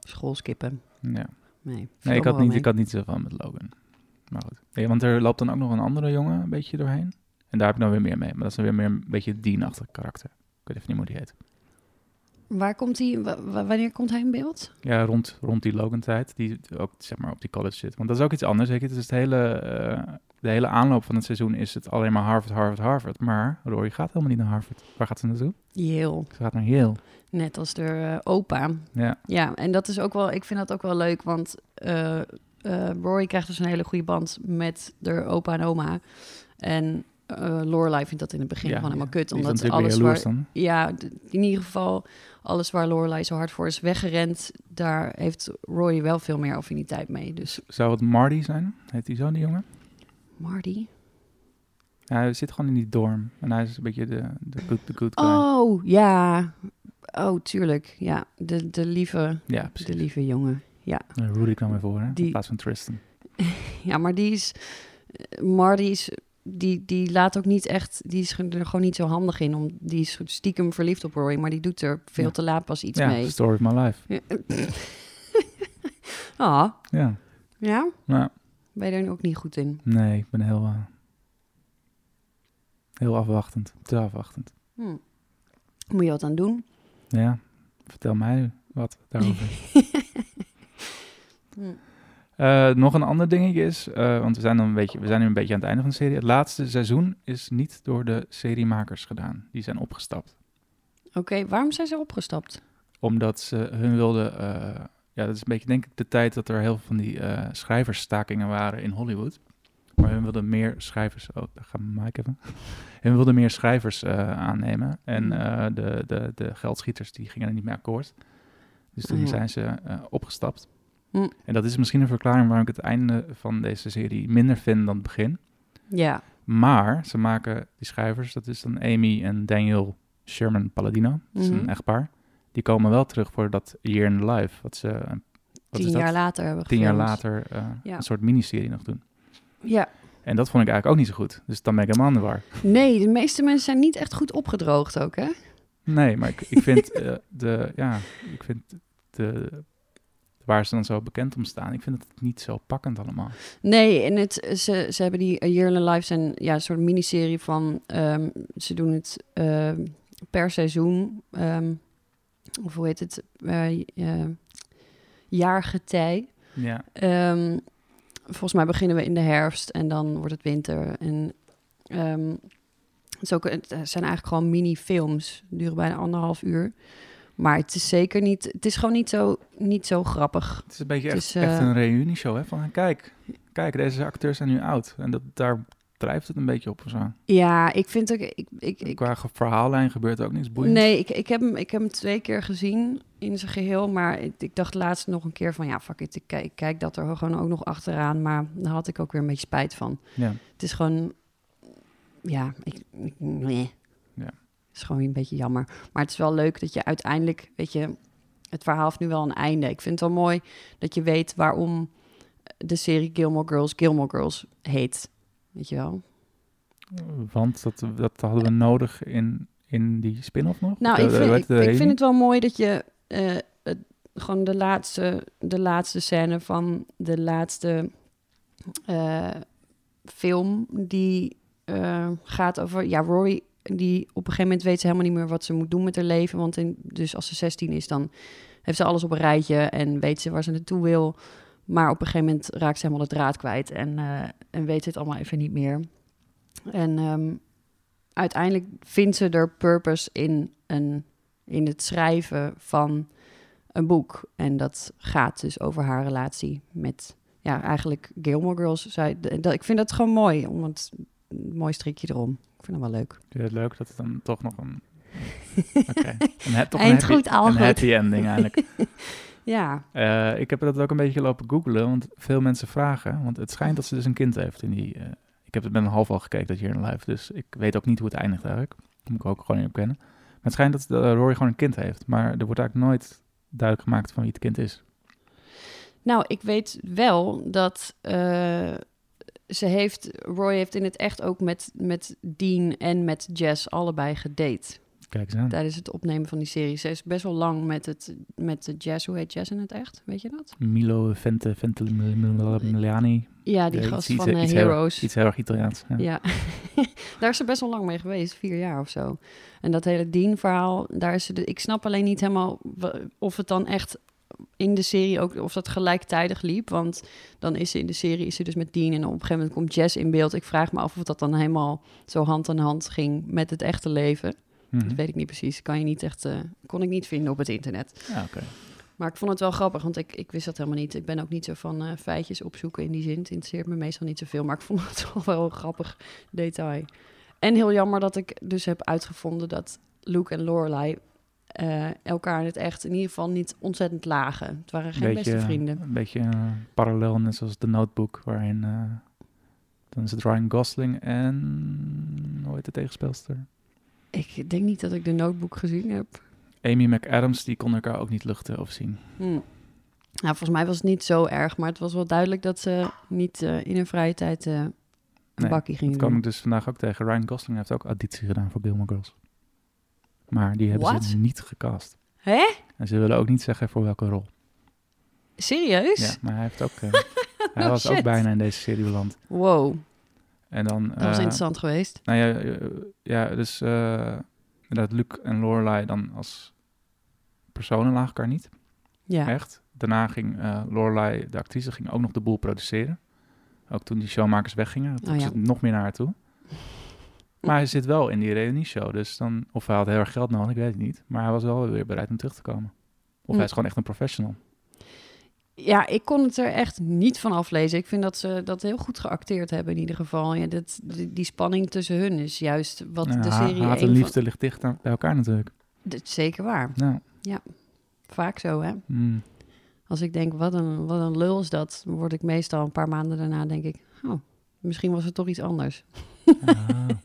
Speaker 2: school skippen.
Speaker 1: Ja.
Speaker 2: Nee, viel
Speaker 1: Nee, ik
Speaker 2: me
Speaker 1: had,
Speaker 2: wel
Speaker 1: niet,
Speaker 2: mee.
Speaker 1: ik had niet zoveel met Logan. Maar goed. Nee, want er loopt dan ook nog een andere jongen een beetje doorheen. En daar heb ik dan weer meer mee. Maar dat is dan weer meer een beetje dienachtig karakter. Ik weet even niet hoe die heet.
Speaker 2: Waar komt hij, wa- wa- wanneer komt hij in beeld?
Speaker 1: Ja, rond, rond die Logan-tijd. Die ook zeg maar op die college zit. Want dat is ook iets anders. Weet je, het is het hele, eh, de hele aanloop van het seizoen is het alleen maar Harvard, Harvard, Harvard. Maar Rory gaat helemaal niet naar Harvard. Waar gaat ze naartoe?
Speaker 2: Yale,
Speaker 1: Ze gaat naar Yale.
Speaker 2: net als de eh, opa.
Speaker 1: Ja,
Speaker 2: Ja, en dat is ook wel, ik vind dat ook wel leuk, want eh, eh, Rory krijgt dus een hele goede band met de opa en oma. En eh Lorelai vindt dat in het begin
Speaker 1: ja,
Speaker 2: gewoon helemaal
Speaker 1: ja.
Speaker 2: kut,
Speaker 1: Die is
Speaker 2: omdat
Speaker 1: natuurlijk weer
Speaker 2: alles waar,
Speaker 1: jaloers dan.
Speaker 2: ja, d- in ieder geval alles waar Lorelai zo hard voor is weggerend, daar heeft Rory wel veel meer affiniteit mee. Dus
Speaker 1: Zou het Marty zijn? Heet die zo, die jongen?
Speaker 2: Marty.
Speaker 1: Ja, hij zit gewoon in die dorm. En hij is een beetje de, de, good, de good guy.
Speaker 2: Oh, ja. Oh, tuurlijk. Ja, de, de, lieve,
Speaker 1: Ja, precies.
Speaker 2: de lieve jongen.
Speaker 1: Nou, Rudy kwam weer voor, hè?
Speaker 2: Die-
Speaker 1: In plaats van Tristan.
Speaker 2: Ja, maar die is. eh, Marty is. Die, die laat ook niet echt. Die is er gewoon niet zo handig in. Om, die is stiekem verliefd op Rory. Maar die doet er veel
Speaker 1: Ja.
Speaker 2: te laat pas iets
Speaker 1: Ja,
Speaker 2: mee.
Speaker 1: story of my life.
Speaker 2: Ah,
Speaker 1: Ja.
Speaker 2: ja.
Speaker 1: Nou,
Speaker 2: Ben je er nu ook niet goed in?
Speaker 1: nee, ik ben heel... eh, heel afwachtend. Te afwachtend.
Speaker 2: Hm. Moet je wat aan doen?
Speaker 1: Ja, vertel mij wat daarover.
Speaker 2: Hm.
Speaker 1: Eh, nog een ander dingetje is, eh, want we zijn, dan een beetje, we zijn nu een beetje aan het einde van de serie. Het laatste seizoen is niet door de seriemakers gedaan. Die zijn opgestapt.
Speaker 2: Oké, waarom zijn ze opgestapt?
Speaker 1: Omdat ze hun wilden... eh, ja, dat is een beetje denk ik de tijd dat er heel veel van die eh, schrijversstakingen waren in Hollywood. Maar hun wilden meer schrijvers... Oh, daar gaan we Mike even. hun wilden meer schrijvers eh, aannemen. En eh, de, de, de geldschieters die gingen er niet mee akkoord. Dus toen
Speaker 2: Ah, ja.
Speaker 1: zijn ze eh, opgestapt.
Speaker 2: Hm.
Speaker 1: En dat is misschien een verklaring waarom ik het einde van deze serie minder vind dan het begin.
Speaker 2: Ja,
Speaker 1: Maar ze maken die schrijvers, dat is dan Amy en Daniel Sherman Palladino, dat is
Speaker 2: Mhm.
Speaker 1: een echtpaar. Die komen wel terug voor dat Year in the Life, wat ze eh, wat
Speaker 2: tien
Speaker 1: is dat?
Speaker 2: jaar later hebben we
Speaker 1: tien jaar
Speaker 2: gefilmd.
Speaker 1: later eh,
Speaker 2: Ja.
Speaker 1: een soort miniserie nog doen.
Speaker 2: Ja.
Speaker 1: En dat vond ik eigenlijk ook niet zo goed. Dus dan ben ik helemaal aan de war.
Speaker 2: Nee, de meeste mensen zijn niet echt goed opgedroogd ook, hè?
Speaker 1: Nee, maar ik, ik vind eh, de, ja, ik vind de, waar ze dan zo bekend om staan, ik vind het niet zo pakkend allemaal.
Speaker 2: Nee, en het, ze, ze hebben die A Year in the Life zijn ja, een soort miniserie van... ehm, ze doen het ehm, per seizoen. ehm, of hoe heet het? Eh, eh, jaargetij.
Speaker 1: Ja,
Speaker 2: Ehm, volgens mij beginnen we in de herfst en dan wordt het winter. En ehm, het, is ook, het zijn eigenlijk gewoon mini-films, duren bijna anderhalf uur. Maar het is zeker niet, het is gewoon niet zo, niet zo grappig.
Speaker 1: het is een beetje
Speaker 2: Het
Speaker 1: echt,
Speaker 2: is,
Speaker 1: echt
Speaker 2: eh,
Speaker 1: een reunieshow. Hè? Van kijk, kijk, deze acteurs zijn nu oud. En dat, daar drijft het een beetje op of zo.
Speaker 2: Ja, ik vind ook, ik, ik, ik,
Speaker 1: Qua ge- verhaallijn gebeurt er ook niks boeiends.
Speaker 2: nee, ik, ik, heb hem, ik heb hem twee keer gezien in zijn geheel. Maar ik, ik dacht laatst nog een keer van, ja, fuck it, ik kijk, ik kijk dat er gewoon ook nog achteraan. Maar daar had ik ook weer een beetje spijt van.
Speaker 1: Ja.
Speaker 2: Het is gewoon, ja, ik, ik- nee.
Speaker 1: Ja.
Speaker 2: Het is gewoon een beetje jammer. Maar het is wel leuk dat je uiteindelijk, weet je, het verhaal heeft nu wel een einde. Ik vind het wel mooi dat je weet waarom de serie Gilmore Girls Gilmore Girls heet. Weet je wel?
Speaker 1: Want dat, dat hadden we nodig in, in die spin-off nog? eh,
Speaker 2: Nou,
Speaker 1: De-
Speaker 2: ik
Speaker 1: de-
Speaker 2: vind,
Speaker 1: de-
Speaker 2: ik,
Speaker 1: de
Speaker 2: ik vind
Speaker 1: reunie?
Speaker 2: het wel mooi dat je eh, het- gewoon de laatste, de laatste scène van de laatste eh, film die eh, gaat over. Ja, Rory, die op een gegeven moment weet ze helemaal niet meer wat ze moet doen met haar leven. Want in, dus als ze 16 is, dan heeft ze alles op een rijtje en weet ze waar ze naartoe wil. Maar op een gegeven moment raakt ze helemaal de draad kwijt en, eh, en weet ze het allemaal even niet meer. En ehm, uiteindelijk vindt ze er purpose in, een, in het schrijven van een boek. En dat gaat dus over haar relatie met, ja, eigenlijk Gilmore Girls. Zij, d- dat, ik vind dat gewoon mooi, om het mooi strikje erom. Ik vind dat wel leuk.
Speaker 1: Ja, leuk dat het dan toch nog een... Oké. Een, he- toch een
Speaker 2: Eind
Speaker 1: happy,
Speaker 2: goed, al
Speaker 1: een
Speaker 2: goed.
Speaker 1: happy ending eigenlijk.
Speaker 2: Ja,
Speaker 1: Eh, ik heb dat ook een beetje lopen googelen, want veel mensen vragen. Want het schijnt dat ze dus een kind heeft in die... eh, ik heb het met een half al gekeken, dat hier in live. Dus ik weet ook niet hoe het eindigt eigenlijk. Moet ik ook gewoon niet opkennen. Maar het schijnt dat eh, Rory gewoon een kind heeft. Maar er wordt eigenlijk nooit duidelijk gemaakt van wie het kind is.
Speaker 2: nou, ik weet wel dat eh, ze heeft, Roy heeft in het echt ook met, met Dean en met Jess allebei gedate.
Speaker 1: Kijk eens aan.
Speaker 2: tijdens het opnemen van die serie. Ze is best wel lang met, het, met de jazz. Hoe heet jazz in het echt? Weet je dat?
Speaker 1: Milo Vente, Vente Miliani.
Speaker 2: Ja, die
Speaker 1: Ja,
Speaker 2: gast
Speaker 1: iets-
Speaker 2: van
Speaker 1: iets-
Speaker 2: eh,
Speaker 1: iets heel-
Speaker 2: Heroes.
Speaker 1: Iets heel erg Italiaans. Ja.
Speaker 2: ja, daar is ze best wel lang mee geweest, vier jaar of zo. En dat hele Dean-verhaal, daar is ze. de- ik snap alleen niet helemaal wa- of het dan echt in de serie ook, of dat gelijktijdig liep. Want dan is ze in de serie, is ze dus met Dean en op een gegeven moment komt Jess in beeld. Ik vraag me af of dat dan helemaal zo hand aan hand ging met het echte leven.
Speaker 1: Mhm.
Speaker 2: Dat weet ik niet precies. Kan je niet echt, eh, kon ik niet vinden op het internet.
Speaker 1: Ja, oké.
Speaker 2: Maar ik vond het wel grappig, want ik, ik wist dat helemaal niet. Ik ben ook niet zo van eh, feitjes opzoeken in die zin. Het interesseert me meestal niet zoveel, maar ik vond het wel wel een grappig detail. En heel jammer dat ik dus heb uitgevonden dat Luke en Lorelai eh, elkaar in het echt in ieder geval niet ontzettend lagen. Het waren geen beste vrienden.
Speaker 1: Een beetje eh, parallel, net zoals The Notebook, waarin eh, dan is het Ryan Gosling en hoe heet de tegenspeelster?
Speaker 2: Ik denk niet dat ik de notebook gezien heb.
Speaker 1: Amy McAdams, die kon elkaar ook niet luchten of zien.
Speaker 2: Hm. Nou, volgens mij was het niet zo erg, maar het was wel duidelijk dat ze niet eh, in hun vrije tijd eh, een
Speaker 1: Nee,
Speaker 2: bakkie
Speaker 1: Dat
Speaker 2: gingen
Speaker 1: kwam
Speaker 2: doen.
Speaker 1: ik dus vandaag ook tegen. Ryan Gosling heeft ook auditie gedaan voor Gilmore Girls. Maar die hebben
Speaker 2: What?
Speaker 1: ze niet gecast.
Speaker 2: Hè?
Speaker 1: En ze willen ook niet zeggen voor welke rol.
Speaker 2: Serieus?
Speaker 1: Ja, maar hij heeft ook... eh, hij was ook
Speaker 2: shit.
Speaker 1: bijna in deze serie beland.
Speaker 2: Wow,
Speaker 1: En dan...
Speaker 2: dat was
Speaker 1: eh,
Speaker 2: interessant geweest.
Speaker 1: Nou ja, eh, ja dus eh inderdaad, Luke en Lorelai dan als personen lagen elkaar niet.
Speaker 2: Ja.
Speaker 1: Echt. daarna ging eh, Lorelai, de actrice, ging ook nog de boel produceren. Ook toen die showmakers weggingen. Toen
Speaker 2: Oh ja.
Speaker 1: zit nog meer naar haar toe. Maar hij zit wel in die reunieshow. Dus dan, of hij had heel erg geld nodig, ik weet het niet. Maar hij was wel weer bereid om terug te komen. Of
Speaker 2: Hm.
Speaker 1: hij is gewoon echt een professional.
Speaker 2: Ja, ik kon het er echt niet van aflezen. Ik vind dat ze dat heel goed geacteerd hebben in ieder geval. Ja, dat, die, die spanning tussen hun is juist wat
Speaker 1: Nou,
Speaker 2: de
Speaker 1: ha-
Speaker 2: serie...
Speaker 1: haat en
Speaker 2: een van-
Speaker 1: liefde ligt dicht aan- bij elkaar natuurlijk.
Speaker 2: Dat is zeker waar.
Speaker 1: Nou,
Speaker 2: Vaak zo, hè.
Speaker 1: mm,
Speaker 2: Als ik denk, wat een, wat een lul is dat, word ik meestal een paar maanden daarna denk ik... Oh, misschien was het toch iets anders.
Speaker 1: ah.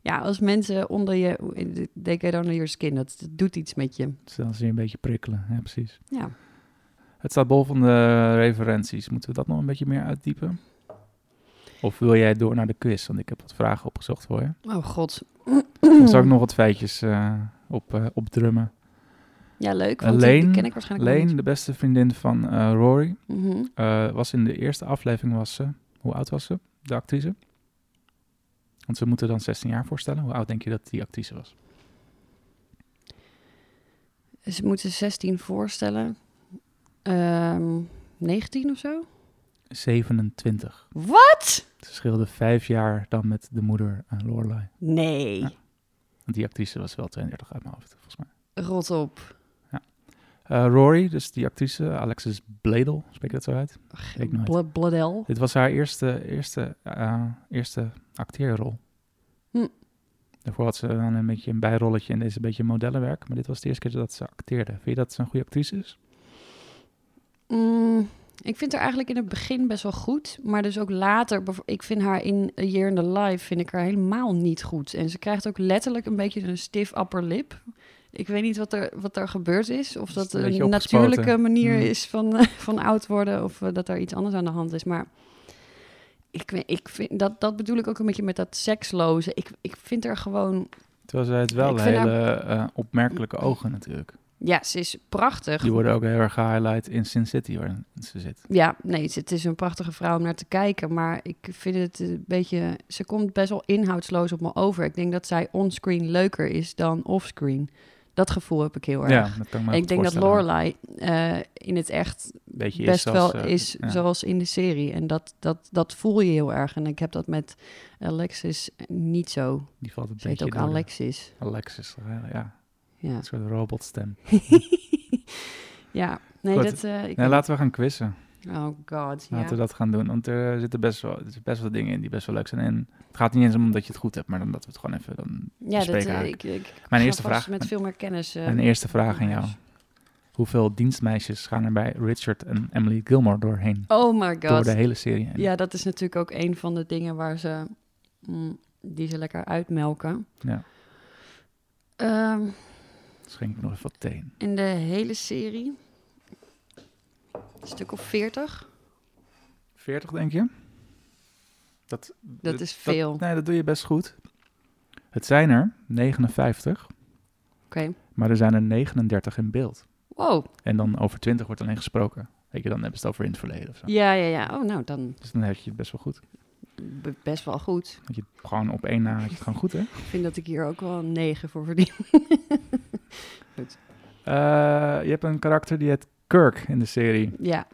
Speaker 2: Ja, als mensen onder je... They get under your skin, dat, dat doet iets met je.
Speaker 1: Dus dan zie je een beetje prikkelen. Ja, precies.
Speaker 2: Ja.
Speaker 1: Het staat bol van de referenties. Moeten we dat nog een beetje meer uitdiepen? Of wil jij door naar de quiz? Want ik heb wat vragen opgezocht voor je.
Speaker 2: Oh god.
Speaker 1: Dan zal ik nog wat feitjes eh, op, eh, opdrummen.
Speaker 2: Ja, leuk.
Speaker 1: Eh,
Speaker 2: Want die- die
Speaker 1: Leen-
Speaker 2: ken ik waarschijnlijk wel
Speaker 1: Leen, de beste vriendin van eh, Rory,
Speaker 2: niet. Mhm.
Speaker 1: eh, was in de eerste aflevering, was ze, hoe oud was ze, de actrice? Want ze moeten dan 16 jaar voorstellen. Hoe oud denk je dat die actrice was?
Speaker 2: Ze moeten 16 voorstellen. Ehm 19 of zo?
Speaker 1: 27.
Speaker 2: Wat?
Speaker 1: Ze scheelde vijf jaar dan met de moeder eh, Lorelai.
Speaker 2: Nee.
Speaker 1: Ja. Want die actrice was wel 32 uit mijn hoofd, volgens mij.
Speaker 2: Rot op.
Speaker 1: Eh, Rory, dus die actrice, Alexis Bledel, spreek ik dat zo uit? Weet ik nooit.
Speaker 2: Bla- Bladel.
Speaker 1: Dit was haar eerste, eerste, eh, eerste acteerrol.
Speaker 2: Hm.
Speaker 1: Daarvoor had ze dan een beetje een bijrolletje en deze beetje modellenwerk. Maar dit was de eerste keer dat ze acteerde. Vind je dat ze een goede actrice is?
Speaker 2: Mm, ik vind haar eigenlijk in het begin best wel goed. Maar dus ook later. bev- Ik vind haar in A Year in the Life vind ik haar helemaal niet goed. En ze krijgt ook letterlijk een beetje een stiff upper lip. Ik weet niet wat er, wat er gebeurd is. Of
Speaker 1: Is
Speaker 2: dat
Speaker 1: het een
Speaker 2: een,
Speaker 1: beetje opgespoten?
Speaker 2: natuurlijke manier
Speaker 1: Mm.
Speaker 2: is van, eh, van oud worden. Of eh, dat er iets anders aan de hand is. Maar ik, weet- ik vind, dat, dat bedoel ik ook een beetje met dat seksloze. Ik, ik vind er gewoon...
Speaker 1: Terwijl ze heeft
Speaker 2: Ik
Speaker 1: wel
Speaker 2: vind
Speaker 1: hele eh, opmerkelijke ogen natuurlijk.
Speaker 2: Ja, ze is prachtig.
Speaker 1: Die worden ook heel erg gehighlight in Sin City waar ze zit.
Speaker 2: Ja, nee, ze- het is een prachtige vrouw om naar te kijken. Maar ik vind het een beetje. Ze komt best wel inhoudsloos op me over. Ik denk dat zij onscreen leuker is dan offscreen. Dat gevoel heb ik heel erg.
Speaker 1: Ja, dat kan ik me
Speaker 2: En
Speaker 1: goed
Speaker 2: ik denk dat
Speaker 1: voorstellen.
Speaker 2: Lorelai eh, in het echt
Speaker 1: Beetje is
Speaker 2: best
Speaker 1: zoals,
Speaker 2: wel
Speaker 1: eh,
Speaker 2: is
Speaker 1: ja.
Speaker 2: zoals in de serie. En dat, dat, dat voel je heel erg. En ik heb dat met Alexis niet zo.
Speaker 1: Die valt een
Speaker 2: Ze heet
Speaker 1: beetje
Speaker 2: ook
Speaker 1: door de-
Speaker 2: Alexis.
Speaker 1: Alexis, eh, ja.
Speaker 2: Ja,
Speaker 1: Een soort robotstem.
Speaker 2: ja. nee,
Speaker 1: Goed.
Speaker 2: dat... eh, ik-
Speaker 1: Nou, laten we gaan quizzen.
Speaker 2: Oh god, ja.
Speaker 1: Laten we dat gaan doen. Want er zitten best wel, er zitten best wel dingen in die best wel leuk zijn. En het gaat niet eens om dat je het goed hebt, maar omdat we het gewoon even. Dan...
Speaker 2: ja, dat,
Speaker 1: bespreken
Speaker 2: eh,
Speaker 1: haak.
Speaker 2: ik, ik
Speaker 1: Mijn
Speaker 2: ga
Speaker 1: eerste
Speaker 2: vast
Speaker 1: vraag.
Speaker 2: Met veel meer kennis. eh,
Speaker 1: Mijn eerste vraag aan jou:
Speaker 2: jongens.
Speaker 1: Hoeveel dienstmeisjes gaan er bij Richard en Emily Gilmore doorheen?
Speaker 2: Oh my
Speaker 1: Door
Speaker 2: god.
Speaker 1: de hele serie. heen?
Speaker 2: Ja, dat is natuurlijk ook een van de dingen waar ze, mm, die ze lekker uitmelken.
Speaker 1: Ja.
Speaker 2: Ehm,
Speaker 1: Schenk ik nog even wat thee. in.
Speaker 2: in de hele serie, een stuk of 40.
Speaker 1: 40, denk je? Dat,
Speaker 2: Dat is veel. Oké,
Speaker 1: nee, dat doe je best goed. Het zijn er 59, maar er zijn er 39 in beeld.
Speaker 2: wow.
Speaker 1: En dan over 20 wordt alleen gesproken. Weet je, dan hebben ze het over in het verleden of zo.
Speaker 2: Ja, ja, ja. Oh, nou, dan
Speaker 1: Dus dan heb je het best wel goed.
Speaker 2: b- best wel goed.
Speaker 1: Dat je het gewoon op één na had je het gewoon goed, hè?
Speaker 2: Ik vind dat ik hier ook wel een 9 voor verdien.
Speaker 1: Eh, je hebt een karakter die heet Kirk in de serie.
Speaker 2: Ja,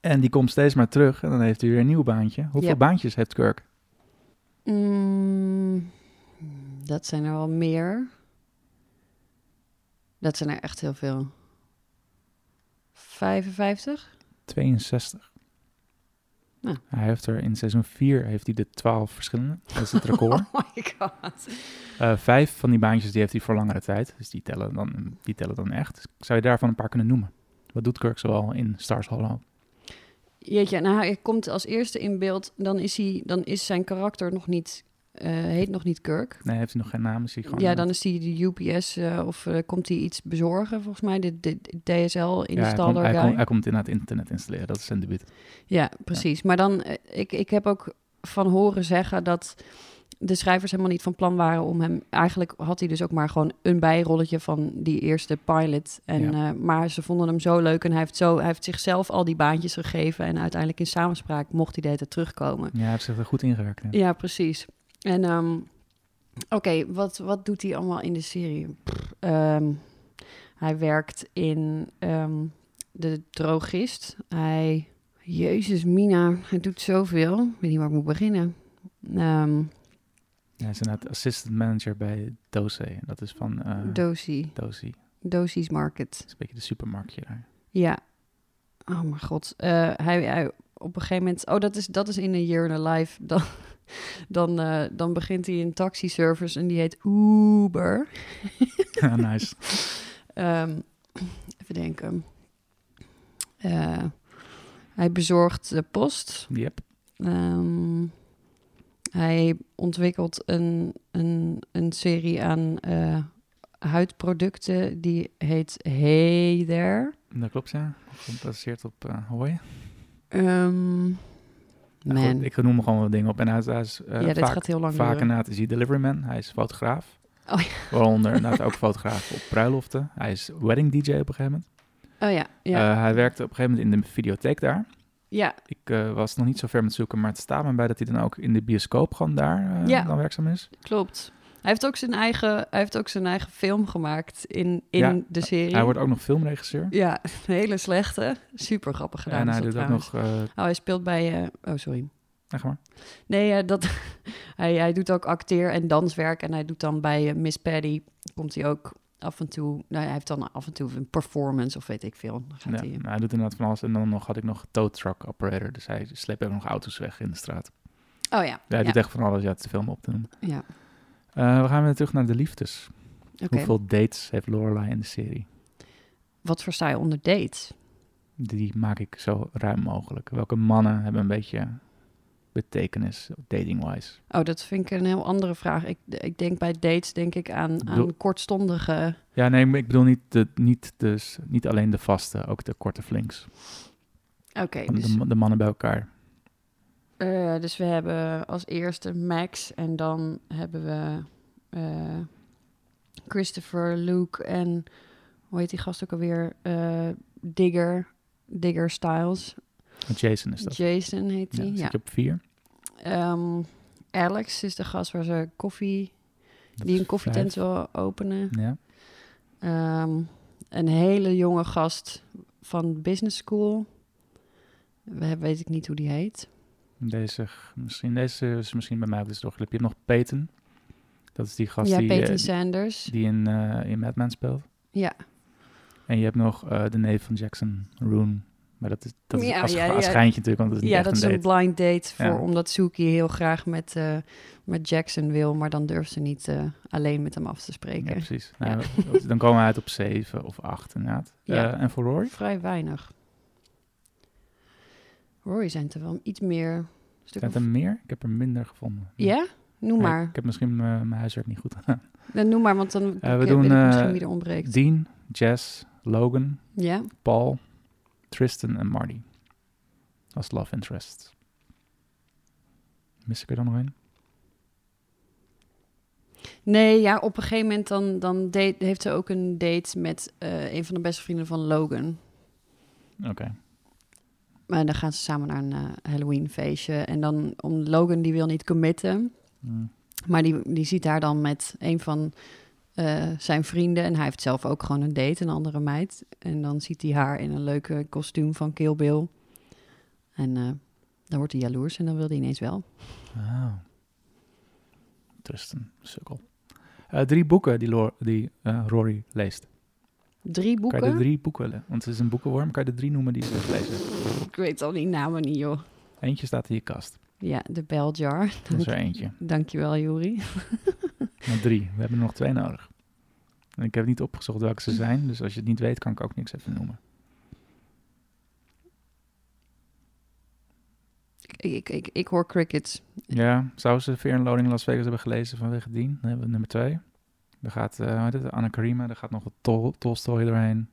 Speaker 1: En die komt steeds maar terug en dan heeft hij weer een nieuw baantje. Hoeveel
Speaker 2: Ja.
Speaker 1: baantjes heeft Kirk?
Speaker 2: Mm, dat zijn er wel meer. Dat zijn er echt heel veel. 55?
Speaker 1: 62.
Speaker 2: Nou.
Speaker 1: Hij heeft er in seizoen 4 heeft hij de 12 verschillende. Dat is het record.
Speaker 2: Oh my god.
Speaker 1: Eh, vijf van die baantjes die heeft hij voor langere tijd. Dus die tellen dan, die tellen dan echt. Dus zou je daarvan een paar kunnen noemen? Wat doet Kirk zoal in Stars Hollow?
Speaker 2: Jeetje, nou hij komt als eerste in beeld. Dan is, hij, dan is zijn karakter nog niet, eh, heet nog niet Kirk.
Speaker 1: Nee, heeft hij nog geen naam? Is hij gewoon, eh,
Speaker 2: Ja, dan is hij de UPS eh, of eh, komt hij iets bezorgen volgens mij. De, de, de
Speaker 1: Ja, hij, komt,
Speaker 2: DSL-installer
Speaker 1: hij,
Speaker 2: guy.
Speaker 1: komt, hij komt inderdaad internet installeren. Dat is zijn debuut.
Speaker 2: Ja, precies. Maar dan, eh, ik, ik heb ook van horen zeggen dat de schrijvers helemaal niet van plan waren om hem... Eigenlijk had hij dus ook maar gewoon een bijrolletje van die eerste pilot. En, eh, maar ze vonden hem zo leuk en hij heeft, zo, hij heeft zichzelf al die baantjes gegeven. En uiteindelijk in samenspraak mocht hij de hele tijd terugkomen.
Speaker 1: Ja, hij heeft zich er goed ingewerkt. hè.
Speaker 2: Ja, precies. En ehm, oké, wat, wat doet hij allemaal in de serie? Pff, ehm, hij werkt in ehm, de drogist. Hij, jezus Mina, hij doet zoveel. Ik weet niet waar ik moet beginnen. Ehm
Speaker 1: Hij is inderdaad assistant manager bij Dose. Dat is van eh
Speaker 2: Dosi,
Speaker 1: Dosi. Dat
Speaker 2: Dosi's Market.
Speaker 1: is een beetje de supermarktje daar.
Speaker 2: Ja. Oh mijn god. Eh, hij, hij- op een gegeven moment... Oh, dat is, dat is in een year in a life. Dan, dan, eh, dan begint hij een taxiservice en die heet Uber.
Speaker 1: Ah, nice.
Speaker 2: Ehm, even denken. Eh, hij bezorgt de post.
Speaker 1: Yep.
Speaker 2: Ehm, hij ontwikkelt een, een, een serie aan eh, huidproducten. Die heet Hey There.
Speaker 1: Dat klopt, ja. Gebaseerd op eh Hawaii.
Speaker 2: Ehm,
Speaker 1: Nou,
Speaker 2: man.
Speaker 1: goed, ik noem gewoon wat dingen op. En hij is, hij is, eh,
Speaker 2: ja, dit
Speaker 1: vaak,
Speaker 2: gaat heel lang
Speaker 1: vaak
Speaker 2: duren.
Speaker 1: inderdaad is hij delivery man. Hij is fotograaf.
Speaker 2: Oh
Speaker 1: Waaronder inderdaad ook fotograaf op bruiloften. Hij is wedding DJ op een gegeven moment.
Speaker 2: Oh ja, ja.
Speaker 1: Eh, hij werkte op een gegeven moment in de videotheek daar.
Speaker 2: ja.
Speaker 1: Ik eh, was nog niet zo ver met zoeken, maar het staat me bij dat hij dan ook in de bioscoop gewoon daar eh,
Speaker 2: Ja.
Speaker 1: dan werkzaam is.
Speaker 2: Klopt. Hij heeft ook zijn eigen, hij heeft ook zijn eigen film gemaakt in, in
Speaker 1: Ja,
Speaker 2: de serie.
Speaker 1: Hij wordt ook nog filmregisseur.
Speaker 2: Ja, een hele slechte. Super grappig gedaan.
Speaker 1: en
Speaker 2: is
Speaker 1: hij
Speaker 2: dat
Speaker 1: doet ook
Speaker 2: trouwens.
Speaker 1: nog... eh
Speaker 2: Oh, hij speelt bij... eh, oh, sorry.
Speaker 1: echt maar.
Speaker 2: Nee, eh, dat, hij, hij doet ook acteer- en danswerk. En hij doet dan bij eh, Miss Patty... komt hij ook af en toe... Nou, hij heeft dan af en toe een performance of weet ik veel. Dan gaat
Speaker 1: Ja,
Speaker 2: hij, Oh
Speaker 1: maar hij doet inderdaad van alles. En dan nog had ik nog tow truck operator. Dus hij sleept ook nog auto's weg in de straat.
Speaker 2: oh ja,
Speaker 1: Ja, hij
Speaker 2: ja,
Speaker 1: doet echt van alles. Ja, het is veel om op te noemen.
Speaker 2: ja.
Speaker 1: Eh, we gaan weer terug naar de liefdes.
Speaker 2: Oké,
Speaker 1: Hoeveel dates heeft Lorelai in de serie?
Speaker 2: wat versta je onder dates?
Speaker 1: Die maak ik zo ruim mogelijk. Welke mannen hebben een beetje betekenis dating-wise?
Speaker 2: Oh, dat vind ik een heel andere vraag. Ik, ik denk bij dates denk ik aan,
Speaker 1: Bedoel-
Speaker 2: aan kortstondige...
Speaker 1: Ja, nee, maar ik bedoel niet, de, niet, dus, niet alleen de vaste, ook de korte flinks.
Speaker 2: Oké, dus,
Speaker 1: De, de mannen bij elkaar.
Speaker 2: eh, dus we hebben als eerste Max en dan hebben we eh, Christopher, Luke en hoe heet die gast ook alweer? Eh, Digger, Digger Styles.
Speaker 1: Jason is dat.
Speaker 2: Jason heet
Speaker 1: Ja,
Speaker 2: die.
Speaker 1: zit
Speaker 2: Ja.
Speaker 1: je op vier.
Speaker 2: Ehm, Alex is de gast waar ze koffie,
Speaker 1: Dat
Speaker 2: die
Speaker 1: is
Speaker 2: een koffietent wil openen.
Speaker 1: vijf. Ja.
Speaker 2: Ehm, een hele jonge gast van business school. We hebben, weet ik niet hoe die heet.
Speaker 1: Deze, misschien, deze is misschien bij mij ook dus doorgelopen. Je hebt nog Peyton. Dat is die gast
Speaker 2: ja,
Speaker 1: die, eh,
Speaker 2: Peyton Sanders.
Speaker 1: die in, eh in Mad Men speelt.
Speaker 2: Ja.
Speaker 1: En je hebt nog eh, de neef van Jackson, Roon. Maar dat is, dat is
Speaker 2: Ja,
Speaker 1: als,
Speaker 2: ja,
Speaker 1: als
Speaker 2: ja.
Speaker 1: schijntje natuurlijk, want dat is niet
Speaker 2: Ja,
Speaker 1: echt
Speaker 2: dat
Speaker 1: een
Speaker 2: is een
Speaker 1: date.
Speaker 2: blind date voor,
Speaker 1: Ja.
Speaker 2: omdat Suki heel graag met, eh, met Jackson wil, maar dan durft ze niet eh, alleen met hem af te
Speaker 1: Ja,
Speaker 2: spreken.
Speaker 1: precies. Nou, dat- dan komen we uit op 7 of 8 inderdaad.
Speaker 2: Ja.
Speaker 1: Eh, en voor Rory?
Speaker 2: Vrij weinig. Rory zijn het er wel iets meer. Stuk
Speaker 1: Zijn
Speaker 2: of-
Speaker 1: er meer? Ik heb er minder gevonden.
Speaker 2: Ja? Noem
Speaker 1: Nee,
Speaker 2: maar.
Speaker 1: Ik heb misschien eh, mijn huiswerk niet goed gedaan.
Speaker 2: Nee, Noem maar, want dan
Speaker 1: Eh, we
Speaker 2: ik-
Speaker 1: doen,
Speaker 2: weet ik misschien
Speaker 1: eh,
Speaker 2: wie er ontbreekt.
Speaker 1: Dean, Jess, Logan,
Speaker 2: Ja?
Speaker 1: Paul, Tristan en Marty. Als love interest. Mis ik er dan nog een?
Speaker 2: Nee, ja, op een gegeven moment dan, dan date- heeft ze ook een date met eh, een van de beste vrienden van Logan.
Speaker 1: Oké.
Speaker 2: Maar dan gaan ze samen naar een eh, Halloween feestje. En dan, om Logan die wil niet committen,
Speaker 1: Hmm.
Speaker 2: Maar die, die ziet haar dan met een van eh, zijn vrienden. En hij heeft zelf ook gewoon een date, een andere meid. En dan ziet hij haar in een leuke kostuum van Kill Bill. En eh, dan wordt hij jaloers en dan wil hij ineens wel.
Speaker 1: Ah. Tristan, sukkel. Eh, drie boeken die, Lor- die eh, Rory leest.
Speaker 2: Drie boeken?
Speaker 1: Kan je de drie boeken... le- Want het is een boekenworm. Kan je de drie noemen die ze heeft gelezen?
Speaker 2: Ik weet al die namen niet, joh.
Speaker 1: Eentje staat in je kast.
Speaker 2: Ja, de Bell Jar.
Speaker 1: Dat is er eentje.
Speaker 2: Dankjewel, Juri.
Speaker 1: Maar drie. We hebben er nog twee nodig. En ik heb niet opgezocht welke ze zijn. Dus als je het niet weet, kan ik ook niks even noemen.
Speaker 2: Ik, ik, ik, ik hoor crickets.
Speaker 1: Ja, zou ze Fear and Loading in Las Vegas hebben gelezen vanwege Dien? Dan hebben we nummer twee. Er gaat, eh, hoe heet het, Anna Karima, daar gaat nog wat Tol- Tolstoy doorheen.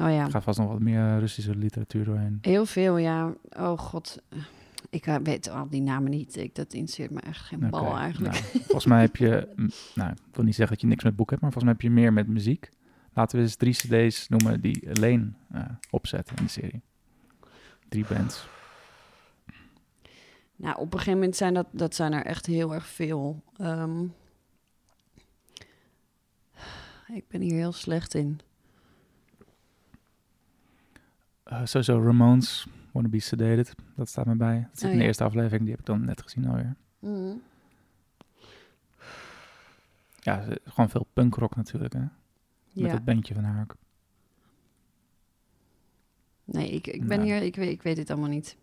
Speaker 2: Oh ja.
Speaker 1: Er gaat vast nog wat meer eh, Russische literatuur doorheen.
Speaker 2: Heel veel, ja. Oh god. Ik eh, weet al die namen niet. Ik, dat interesseert me echt geen
Speaker 1: Oké,
Speaker 2: bal eigenlijk.
Speaker 1: nou, volgens mij heb je, mm, nou, ik wil niet zeggen dat je niks met boeken hebt, maar volgens mij heb je meer met muziek. Laten we eens drie cd's noemen die Leen eh, opzet in de serie. Drie bands.
Speaker 2: Nou, op een gegeven moment zijn dat, dat zijn er echt heel erg veel. Ehm, ik ben hier heel slecht in.
Speaker 1: eh, sowieso Ramones, Wanna Be Sedated. Dat staat me bij. Dat zit
Speaker 2: Oh,
Speaker 1: in de
Speaker 2: ja.
Speaker 1: eerste aflevering, die heb ik dan net gezien alweer.
Speaker 2: Mhm.
Speaker 1: Ja, ze- gewoon veel punkrock natuurlijk, hè? Met
Speaker 2: Ja.
Speaker 1: dat bandje van haar ook.
Speaker 2: Nee, ik, ik ben
Speaker 1: Nou.
Speaker 2: hier, ik weet, ik weet dit allemaal niet.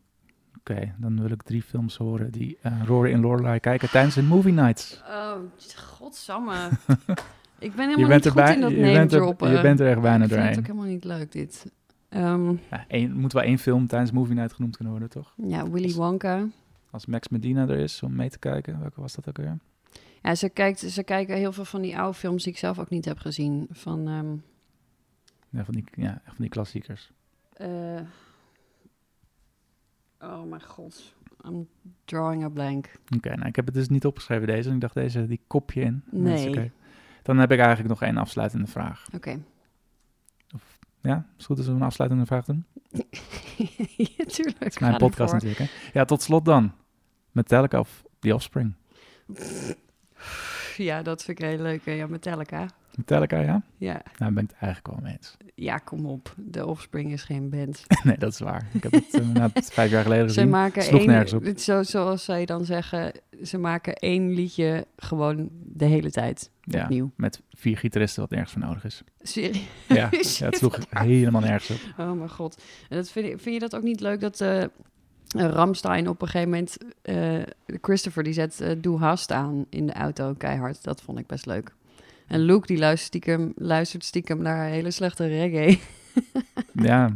Speaker 1: Oké, dan wil ik drie films horen die eh Rory en Lorelai kijken tijdens de movie nights.
Speaker 2: Oh, godsamme. ik ben helemaal
Speaker 1: je bent
Speaker 2: niet
Speaker 1: erbij,
Speaker 2: goed in dat
Speaker 1: je, bent
Speaker 2: name-droppen.
Speaker 1: er, je bent er echt bijna
Speaker 2: ik vind het
Speaker 1: doorheen.
Speaker 2: ook helemaal niet leuk, dit. Ehm,
Speaker 1: Ja, één, moet wel één film tijdens movie night genoemd kunnen worden, toch?
Speaker 2: ja, Willy Wonka.
Speaker 1: Als Max Medina er is om mee te kijken, welke was dat ook weer?
Speaker 2: Ja, ze, kijkt, ze kijken heel veel van die oude films die ik zelf ook niet heb gezien. Van, ehm,
Speaker 1: Ja, van die, ja, echt van die klassiekers.
Speaker 2: eh, oh mijn god, I'm drawing a blank.
Speaker 1: Oké, nou ik heb het dus niet opgeschreven deze. En ik dacht deze, die kopje in. Maar dat is
Speaker 2: Nee.
Speaker 1: oké. Dan heb ik eigenlijk nog één afsluitende vraag.
Speaker 2: Oké.
Speaker 1: Ja, is het goed als we een afsluitende vraag doen?
Speaker 2: Ja, Tuurlijk.
Speaker 1: Het is mijn podcast natuurlijk, hè? Ja, tot slot dan. Metallica of The Offspring.
Speaker 2: Ja, dat vind ik heel leuk. hè. Ja, Metallica.
Speaker 1: Metallica, ja?
Speaker 2: Ja,
Speaker 1: Daar Nou, ben ik het eigenlijk wel mee eens.
Speaker 2: ja, kom op. De Offspring is geen band.
Speaker 1: Nee, dat is waar. Ik heb het eh, na het vijf jaar geleden
Speaker 2: Ze
Speaker 1: gezien.
Speaker 2: maken
Speaker 1: sloeg nergens
Speaker 2: één,
Speaker 1: op.
Speaker 2: het zo, zoals zij dan zeggen, ze maken één liedje gewoon de hele tijd
Speaker 1: Ja,
Speaker 2: opnieuw.
Speaker 1: met vier gitaristen wat nergens voor nodig is.
Speaker 2: Serie-
Speaker 1: Ja, ja het sloeg helemaal nergens op.
Speaker 2: Oh mijn god. En dat vind, ik- vind je dat ook niet leuk dat eh eh, Ramstein op een gegeven moment... eh, Christopher die zet eh, Doe Hast aan in de auto keihard. Dat vond ik best leuk. En Luke die luistert stiekem, luistert stiekem naar hele slechte reggae.
Speaker 1: Ja,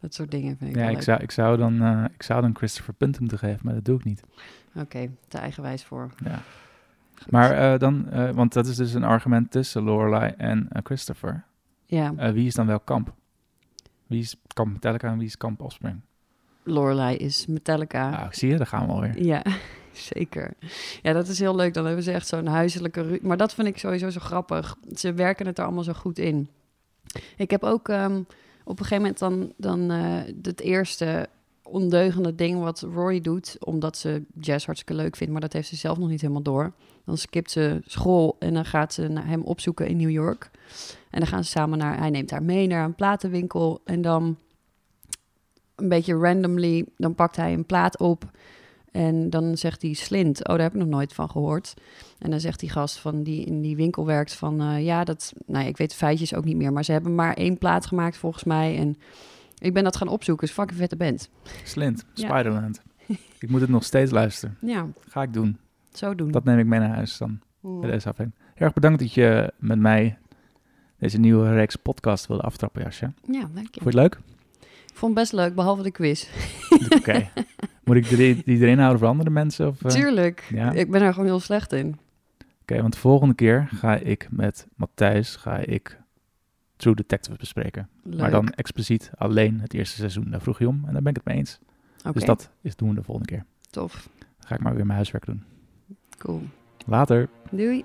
Speaker 2: Dat soort dingen vind ik
Speaker 1: ja
Speaker 2: wel
Speaker 1: ik,
Speaker 2: leuk.
Speaker 1: zou, ik, zou dan, eh, ik zou dan Christopher Punt moeten geven, maar dat doe ik niet.
Speaker 2: Oké, te eigenwijs voor.
Speaker 1: Ja. Maar eh, dan, eh, want dat is dus een argument tussen Lorelai en eh, Christopher.
Speaker 2: Ja,
Speaker 1: Eh, wie is dan wel kamp? Wie is kamp Metallica en wie is kamp Offspring?
Speaker 2: Lorelai is Metallica.
Speaker 1: Ah, zie je, daar gaan we alweer.
Speaker 2: Ja, zeker. Ja, dat is heel leuk. Dan hebben ze echt zo'n huiselijke ru- Maar dat vind ik sowieso zo grappig. Ze werken het er allemaal zo goed in. Ik heb ook ehm, op een gegeven moment dan, dan eh, het eerste ondeugende ding wat Rory doet, omdat ze jazz hartstikke leuk vindt, maar dat heeft ze zelf nog niet helemaal door. Dan skipt ze school en dan gaat ze naar hem opzoeken in New York. En dan gaan ze samen naar, hij neemt haar mee naar een platenwinkel en dan een beetje randomly, dan pakt hij een plaat op en dan zegt hij slint. Oh, daar heb ik nog nooit van gehoord. En dan zegt die gast van die in die winkel werkt van... eh, ja, dat... Nou, ja, ik weet de feitjes ook niet meer. Maar ze hebben maar één plaat gemaakt volgens mij. En ik ben dat gaan opzoeken. is fucking vette band.
Speaker 1: Slint,
Speaker 2: Ja.
Speaker 1: Spiderland. Ik moet het nog steeds luisteren.
Speaker 2: Ja,
Speaker 1: Ga ik doen.
Speaker 2: zo doen.
Speaker 1: Dat eh, neem ik mee naar huis dan.
Speaker 2: Mm.
Speaker 1: bij deze aflevering. Heel erg bedankt dat je met mij deze nieuwe reeks podcast wilde aftrappen, Jasje.
Speaker 2: Ja, dank je.
Speaker 1: Vond je het leuk?
Speaker 2: Ik vond het best leuk, behalve de quiz.
Speaker 1: Oké. Moet ik die, die erin houden voor andere mensen? Of, eh?
Speaker 2: Tuurlijk.
Speaker 1: ja.
Speaker 2: Ik ben er gewoon heel slecht in.
Speaker 1: Oké, want de volgende keer ga ik met Matthijs ga ik True Detective bespreken.
Speaker 2: Leuk.
Speaker 1: Maar dan expliciet alleen het eerste seizoen. Daar vroeg je om en daar ben ik het mee eens.
Speaker 2: Oké,
Speaker 1: Dus dat is doen we de volgende keer.
Speaker 2: tof.
Speaker 1: Dan ga ik maar weer mijn huiswerk doen.
Speaker 2: Cool.
Speaker 1: Later.
Speaker 2: Doei.